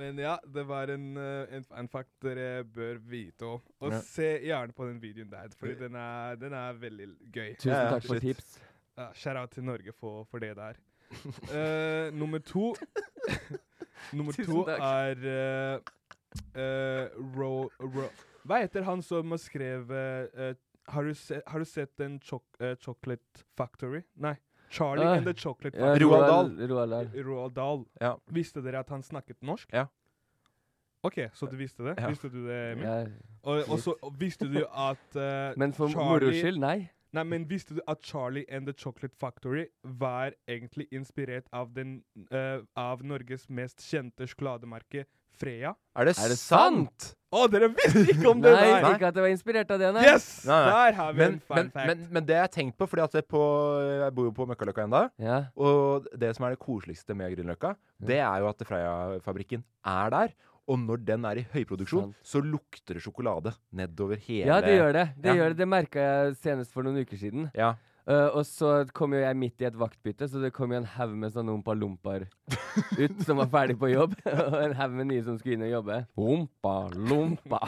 Speaker 3: Men ja, det var en, eh, en fun fact dere bør vite om. Og
Speaker 4: Ja.
Speaker 3: se gjerne på den videoen der, fordi den er, den er veldig gøy.
Speaker 4: Tusen Ja, ja, takk for shit. tips.
Speaker 3: Ja, Shout out til Norge for, for det der. Eh, nummer to Nummer
Speaker 4: Tusen
Speaker 3: to
Speaker 4: takk.
Speaker 3: er eh, eh, Ro, Ro Hva heter han som skrev eh, eh, har, du se, har du sett den chok eh, Chocolate Factory? Nei. Charlie
Speaker 4: Ah.
Speaker 3: and the Chocolate
Speaker 4: Ja,
Speaker 3: Factory.
Speaker 4: Roald Dahl. Roald Dahl.
Speaker 3: Roald Dahl.
Speaker 5: Ja.
Speaker 3: Visste dere at han snakket norsk?
Speaker 5: Ja.
Speaker 3: OK, så du visste det?
Speaker 4: Ja.
Speaker 3: Visste du det, Emil?
Speaker 4: Ja,
Speaker 3: og, og
Speaker 4: litt.
Speaker 3: så visste du at eh,
Speaker 4: Men for
Speaker 3: Charlie-
Speaker 4: moro skyld, nei.
Speaker 3: Nei, men visste du at Charlie and the Chocolate Factory var egentlig inspirert av, den, eh, av Norges mest kjente sjokolademerke, Freya?
Speaker 5: Er det Er det sant?
Speaker 3: Å, dere visste ikke om det
Speaker 4: Nei,
Speaker 3: der!
Speaker 4: ikke at jeg var inspirert av det, nei.
Speaker 3: Yes!
Speaker 5: Nei, nei.
Speaker 3: Der har vi
Speaker 5: men,
Speaker 3: en fun
Speaker 5: men,
Speaker 3: fact.
Speaker 5: Men, men det jeg har tenkt på, fordi at det på, jeg bor jo på Møkkaløkka ennå, og det som er det koseligste med Grünerløkka, det er jo at Freia-fabrikken er der. Og når den er i høyproduksjon, så lukter det sjokolade nedover hele
Speaker 4: Ja, det gjør det. Det
Speaker 5: Ja.
Speaker 4: gjør det, det merka jeg senest for noen uker siden.
Speaker 5: Ja.
Speaker 4: Eh, og så kom jo jeg midt i et vaktbytte, så det kom jo en haug med sånne ompa-lompaer ut som var ferdig på jobb. og en haug med nye som skulle inn og jobbe. Ompa-lompa.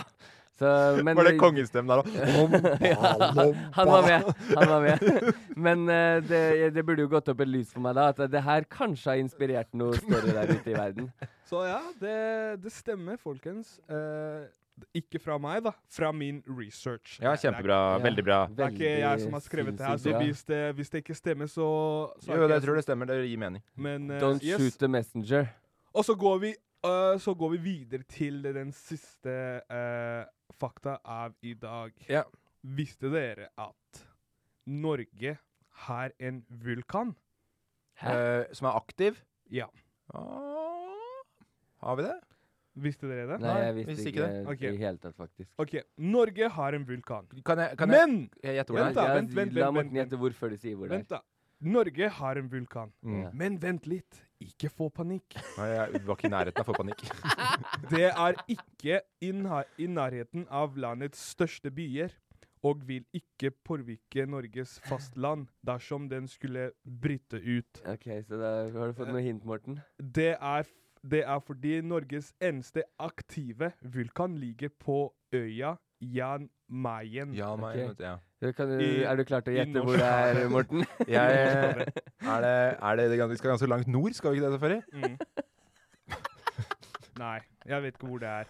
Speaker 4: Så, men,
Speaker 5: Var det kongestemmen der Ah, òg?
Speaker 4: Ja, han var med. Han var med. Men eh, det, det burde jo gått opp et lys for meg da, at det her kanskje har inspirert noe større der ute i verden.
Speaker 3: Så ja, det, det stemmer, folkens. Eh, ikke fra meg, da. Fra min research.
Speaker 5: Ja, kjempebra.
Speaker 3: Det er-
Speaker 5: Veldig bra.
Speaker 3: Det er ikke jeg som har skrevet det her, så
Speaker 5: Sinnssykt bra.
Speaker 3: hvis det, hvis det ikke stemmer, så, så er
Speaker 5: Jo,
Speaker 3: ikke
Speaker 5: det
Speaker 3: jeg
Speaker 5: tror jeg
Speaker 3: som-
Speaker 5: stemmer. Det gir mening.
Speaker 3: Men, eh,
Speaker 4: Don't
Speaker 3: yes.
Speaker 4: shoot the messenger.
Speaker 3: Og så går vi, øh, så går vi videre til den siste øh, fakta av i dag. Visste dere at Norge har en vulkan?
Speaker 5: Eh, som er aktiv?
Speaker 3: Ja.
Speaker 5: Har vi det?
Speaker 3: Visste dere det?
Speaker 4: Nei, jeg visste ikke
Speaker 3: Ok.
Speaker 4: i det hele tatt, faktisk.
Speaker 3: Ok, Norge har en vulkan.
Speaker 5: kan jeg-
Speaker 3: Men
Speaker 5: jeg gjetter hvor
Speaker 3: vent,
Speaker 5: det er?
Speaker 3: da,
Speaker 5: Ja,
Speaker 3: vent, vent,
Speaker 4: La
Speaker 3: vent, vent,
Speaker 4: Morten gjette hvor før du sier hvor det
Speaker 3: vent, da. Norge har en vulkan.
Speaker 5: Mm. Ja.
Speaker 3: Men vent litt. Ikke få panikk.
Speaker 5: Nei, jeg var ikke i nærheten av å få panikk.
Speaker 3: Det er ikke inna- i nærheten av landets største byer, og vil ikke påvirke Norges fastland dersom den skulle bryte ut.
Speaker 4: Ok, så da har du fått
Speaker 3: Eh,
Speaker 4: noe hint, Morten.
Speaker 3: Det er, f- det er fordi Norges eneste aktive vulkan ligger på øya Jan Mayen.
Speaker 5: Ja, meg,
Speaker 4: Ok.
Speaker 5: vet du, ja.
Speaker 4: Du kan,
Speaker 3: I-
Speaker 4: er du klar til å
Speaker 3: i
Speaker 4: gjette hvor
Speaker 3: norsk-
Speaker 4: det er, eh, Morten?
Speaker 5: Jeg, er, det, er det, det gans- Vi skal ganske langt nord, skal vi ikke det, Safari?
Speaker 3: Mm. Nei, jeg vet ikke hvor det er.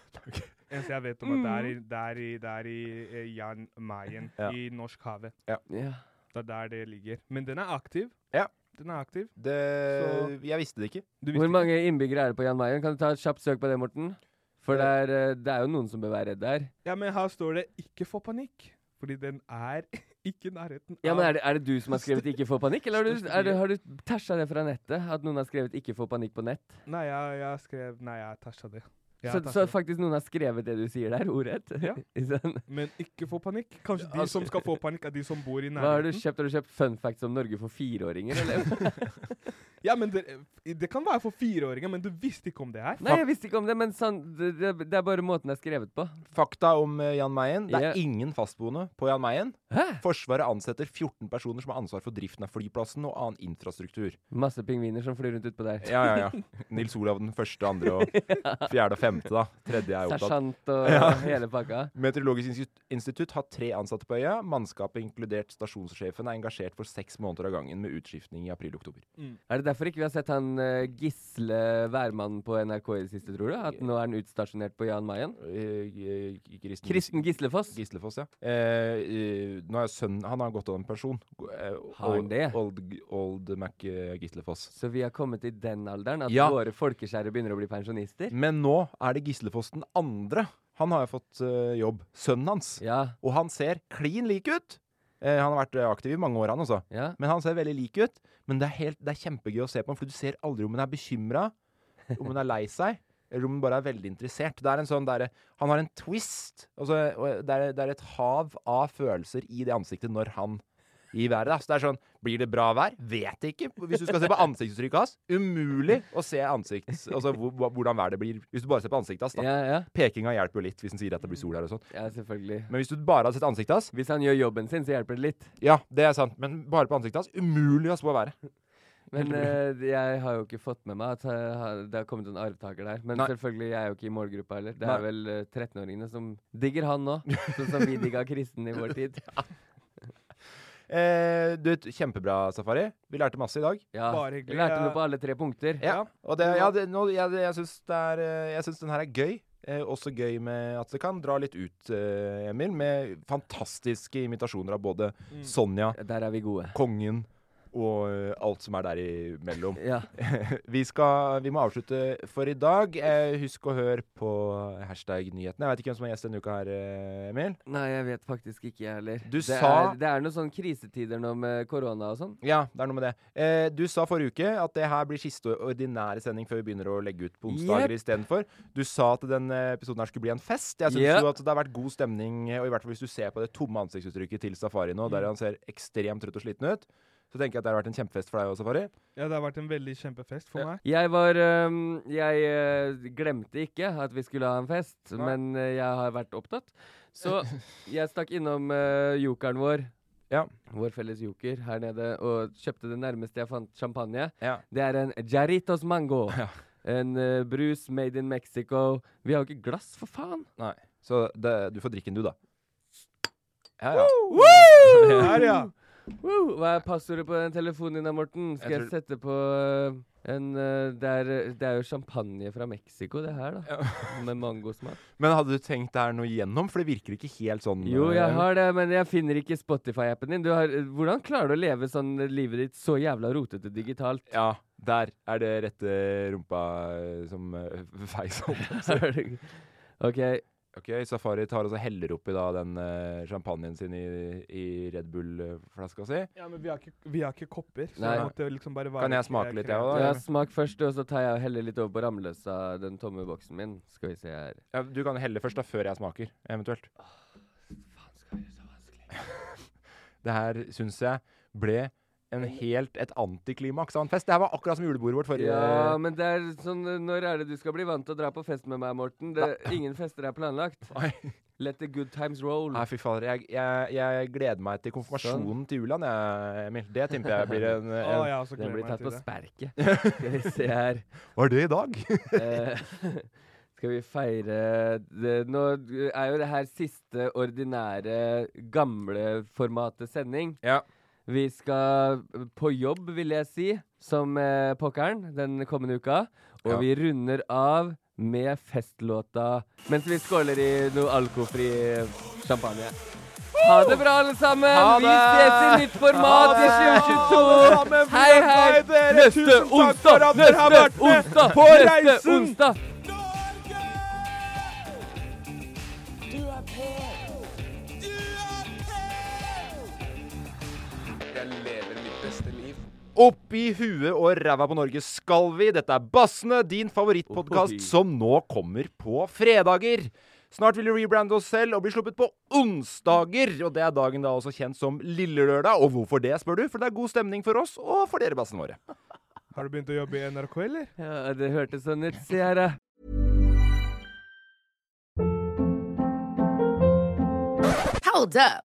Speaker 3: Eneste jeg vet om at det er i, det er i, det er i eh, Jan Mayen
Speaker 5: Ja.
Speaker 3: i Norskhavet.
Speaker 5: Ja.
Speaker 4: Ja.
Speaker 3: Det er der det ligger. Men den er aktiv.
Speaker 5: Ja.
Speaker 3: Den er aktiv.
Speaker 5: Det,
Speaker 3: Så-
Speaker 5: jeg visste det ikke.
Speaker 4: Hvor mange innbyggere er det på Jan Mayen? Kan du ta et kjapt søk på det, Morten? For det er, eh, det er jo noen som bør være redd der.
Speaker 3: Ja, men her står det 'ikke få panikk', fordi den er ikke i nærheten
Speaker 4: Ja, men er det, er det du som har skrevet 'ikke få panikk', eller har du, er det, har du tæsja det fra nettet? At noen har skrevet 'ikke få panikk' på nett?
Speaker 3: Nei, jeg, jeg skrev Nei, jeg tæsja det. Jeg
Speaker 4: Så,
Speaker 3: tæsja
Speaker 4: så
Speaker 3: det.
Speaker 4: faktisk noen har skrevet det du sier der, ordrett?
Speaker 3: Ja.
Speaker 4: I sånn-
Speaker 3: Men ikke få panikk. Kanskje de
Speaker 4: Altså-
Speaker 3: som skal få panikk, er de som bor i nærheten.
Speaker 4: Hva har du kjøpt? Har du kjøpt fun facts om Norge for fireåringer, eller?
Speaker 3: Ja, men det, det kan være for fireåringer, men du visste ikke om det her.
Speaker 4: Nei, jeg visste ikke om det, men sånn, det, det- det er bare måten det er skrevet på.
Speaker 5: Fakta om eh, Jan Mayen. Det er
Speaker 4: Ja.
Speaker 5: ingen fastboende på Jan Mayen. Forsvaret ansetter 14 personer som har ansvar for driften av flyplassen og annen infrastruktur.
Speaker 4: Masse pingviner som flyr rundt utpå der.
Speaker 5: Ja, ja, ja. Nils Olav den første, andre og fjerde og femte, da. Tredje er jo opptatt.
Speaker 4: Sersjant og hele pakka.
Speaker 5: Meteorologisk insti- institutt har tre ansatte på øya. Mannskapet, inkludert stasjonssjefen, er engasjert for seks måneder av gangen med utskiftning i april-oktober.
Speaker 4: Er det derfor ikke vi har sett han eh, Gisle værmannen på NRK i det siste, tror du? At nå er han utstasjonert på Jan Mayen?
Speaker 5: Kristen,
Speaker 4: Kristen Gislefoss?
Speaker 5: Gislefoss, ja. Eh, eh, nå er sønnen Han har gått av en person. Eh,
Speaker 4: Har han det?
Speaker 5: Old, old Mac eh, Gislefoss.
Speaker 4: Så vi har kommet i den alderen at
Speaker 5: Ja.
Speaker 4: våre folkeskjære begynner å bli pensjonister?
Speaker 5: Men nå er det Gislefoss den andre. Han har jo fått eh, jobb. Sønnen hans. Og han ser klin lik ut. Eh, han har vært eh, aktiv i mange år, han også. Men han ser veldig lik ut. Men det er, helt, det er kjempegøy å se på ham, for du ser aldri om hun er bekymra, om hun er lei seg, eller om hun bare er veldig interessert. Det er en sånn derre Han har en twist. Altså, og det, er, det er et hav av følelser i det ansiktet når han i været, da. Så det er sånn Blir det bra vær? Vet ikke. Hvis du skal se på ansiktsuttrykket hans, umulig å se ansikts... Altså hvor- hvor- hvordan været blir. Hvis du bare ser på ansiktet hans, da.
Speaker 4: Ja, ja.
Speaker 5: Pekinga hjelper jo litt hvis han sier at det blir sol her og sånn.
Speaker 4: Ja, selvfølgelig.
Speaker 5: Men hvis du bare hadde sett ansiktet hans
Speaker 4: Hvis han gjør jobben sin, så hjelper det litt.
Speaker 5: Ja, det er sant. Men bare på ansiktet hans. Umulig å spå været.
Speaker 4: Men
Speaker 5: Helt
Speaker 4: eh, jeg har jo ikke fått med meg at eh, ha- det har kommet en arvtaker der. Men
Speaker 5: Nei.
Speaker 4: selvfølgelig, jeg er jo ikke i målgruppa heller. Det
Speaker 5: Nei.
Speaker 4: er vel eh, 13-åringene som digger han nå, sånn som vi digga kristen i vår tid.
Speaker 5: Eh, du, vet, kjempebra, Safari. Vi lærte masse i dag.
Speaker 4: Ja,
Speaker 5: Bare hyggelig.
Speaker 4: Jeg lærte noe
Speaker 5: Jeg-
Speaker 4: på alle tre punkter.
Speaker 5: Ja, og det, ja, det, nå, jeg, jeg syns det er, eh, jeg syns den her er gøy. Eh, også gøy med at det kan dra litt ut, eh, Emil, med fantastiske imitasjoner av både
Speaker 4: Mm.
Speaker 5: Sonja,
Speaker 4: Der er vi gode.
Speaker 5: kongen og eh, alt som er der imellom.
Speaker 4: Ja.
Speaker 5: vi, skal, vi må avslutte for i dag. Eh, husk å høre på hashtag nyhetene. Jeg vet ikke hvem som er gjest denne uka her, eh, Emil.
Speaker 4: Nei, jeg vet faktisk ikke, jeg heller.
Speaker 5: Du
Speaker 4: det,
Speaker 5: sa-
Speaker 4: er, det er noen sånne krisetider nå med korona og sånn.
Speaker 5: Ja, det er noe med det. Eh, du sa forrige uke at det her blir siste ordinære sending før vi begynner å legge ut på onsdager
Speaker 4: Jep.
Speaker 5: istedenfor. Du sa at den eh, episoden her skulle bli en fest. Jeg syns
Speaker 4: Jep.
Speaker 5: jo at det har vært god stemning, eh, og i hvert fall hvis du ser på det tomme ansiktsuttrykket til Safari
Speaker 4: Mm.
Speaker 5: nå, der han ser ekstremt trøtt og sliten ut, så tenker jeg at det har vært en kjempefest for deg òg, Safari.
Speaker 3: Ja, det har vært en veldig kjempefest for meg.
Speaker 4: Jeg var øhm, Jeg øh, glemte ikke at vi skulle ha en fest, men øh, jeg har vært opptatt. Så jeg stakk innom øh, jokeren vår, vår felles joker, her nede og kjøpte det nærmeste jeg fant champagne. Det er en Jarritos eh, Mango. En øh, brus made in Mexico. Vi har jo ikke glass, for faen!
Speaker 5: Nei. Så det, du får drikken, du, da. Ja, ja.
Speaker 4: Woo!
Speaker 5: Her, ja.
Speaker 4: Woo! Hva er passordet på den telefonen din, da, Morten? Skal jeg,
Speaker 5: Jeg tror-
Speaker 4: sette på eh, en eh, det er, det er jo champagne fra Mexico, det her, da. Med mangosmak.
Speaker 5: Men hadde du tenkt det her noe igjennom? For det virker ikke helt sånn.
Speaker 4: Jo,
Speaker 5: eh,
Speaker 4: jeg har det, men jeg finner ikke Spotify-appen din. Du har, hvordan klarer du å leve sånn eh, livet ditt så jævla rotete digitalt?
Speaker 5: Ja, der er det rette rumpa eh, som eh, feis opp.
Speaker 4: ok.
Speaker 5: Ok, Safari tar og så heller oppi da den eh, champagnen sin i, i Red Bull-flaska si.
Speaker 3: Ja, men vi har ikke, vi har ikke kopper. Så
Speaker 4: Nei.
Speaker 3: det måtte liksom bare være
Speaker 5: Kan jeg smake litt, jeg òg, da?
Speaker 4: Ja,
Speaker 5: eller?
Speaker 4: smak først, og så tar jeg og heller litt over på Ramløsa, den tomme boksen min. Skal vi se her.
Speaker 5: Ja, du kan helle først, da, før jeg smaker, eventuelt. det her syns jeg ble en helt et antiklimaks av en fest. Det her var akkurat som julebordet vårt forrige
Speaker 4: Ja, men det er sånn eh, Når er det du skal bli vant til å dra på fest med meg, Morten? Det, ingen fester er planlagt. Let the good times roll.
Speaker 5: Nei, fy fader. Jeg, jeg, jeg gleder meg til
Speaker 4: Sånn.
Speaker 5: konfirmasjonen til Julian, jeg, Emil. Det tipper jeg blir en, en
Speaker 4: Å, jeg også Den gleder blir meg tatt til på det. sperket. Skal vi se her.
Speaker 5: Var det i dag?
Speaker 4: Eh, skal vi feire det, Nå er jo det her siste ordinære, gamle formatet sending. Vi skal på jobb, vil jeg si, som eh, pokkeren den kommende uka. Og
Speaker 5: Ja.
Speaker 4: vi runder av med festlåta mens vi skåler i noe alkofri champagne. Ha det bra, alle sammen!
Speaker 10: Ha
Speaker 4: Vi ses i
Speaker 10: det!
Speaker 4: nytt format i
Speaker 10: Ha det!
Speaker 4: 2022! Hei, hei! Neste onsdag! Neste onsdag! Neste onsdag!
Speaker 10: Du er på! Du er på! Jeg lever er mitt beste liv.
Speaker 5: Opp i huet og ræva på Norge skal vi. Dette er Bassene, din favorittpodkast
Speaker 6: Ohoi.
Speaker 5: som nå kommer på fredager. Snart vil vi rebrande oss selv og bli sluppet på onsdager. Og det er dagen da også kjent som Lillelørdag. Og hvorfor det, spør du? For det er god stemning for oss og for dere, bassene våre.
Speaker 3: Har du begynt å jobbe i NRK, eller?
Speaker 4: Ja, det hørtes sånn ut. Se her, da.
Speaker 11: Hold up.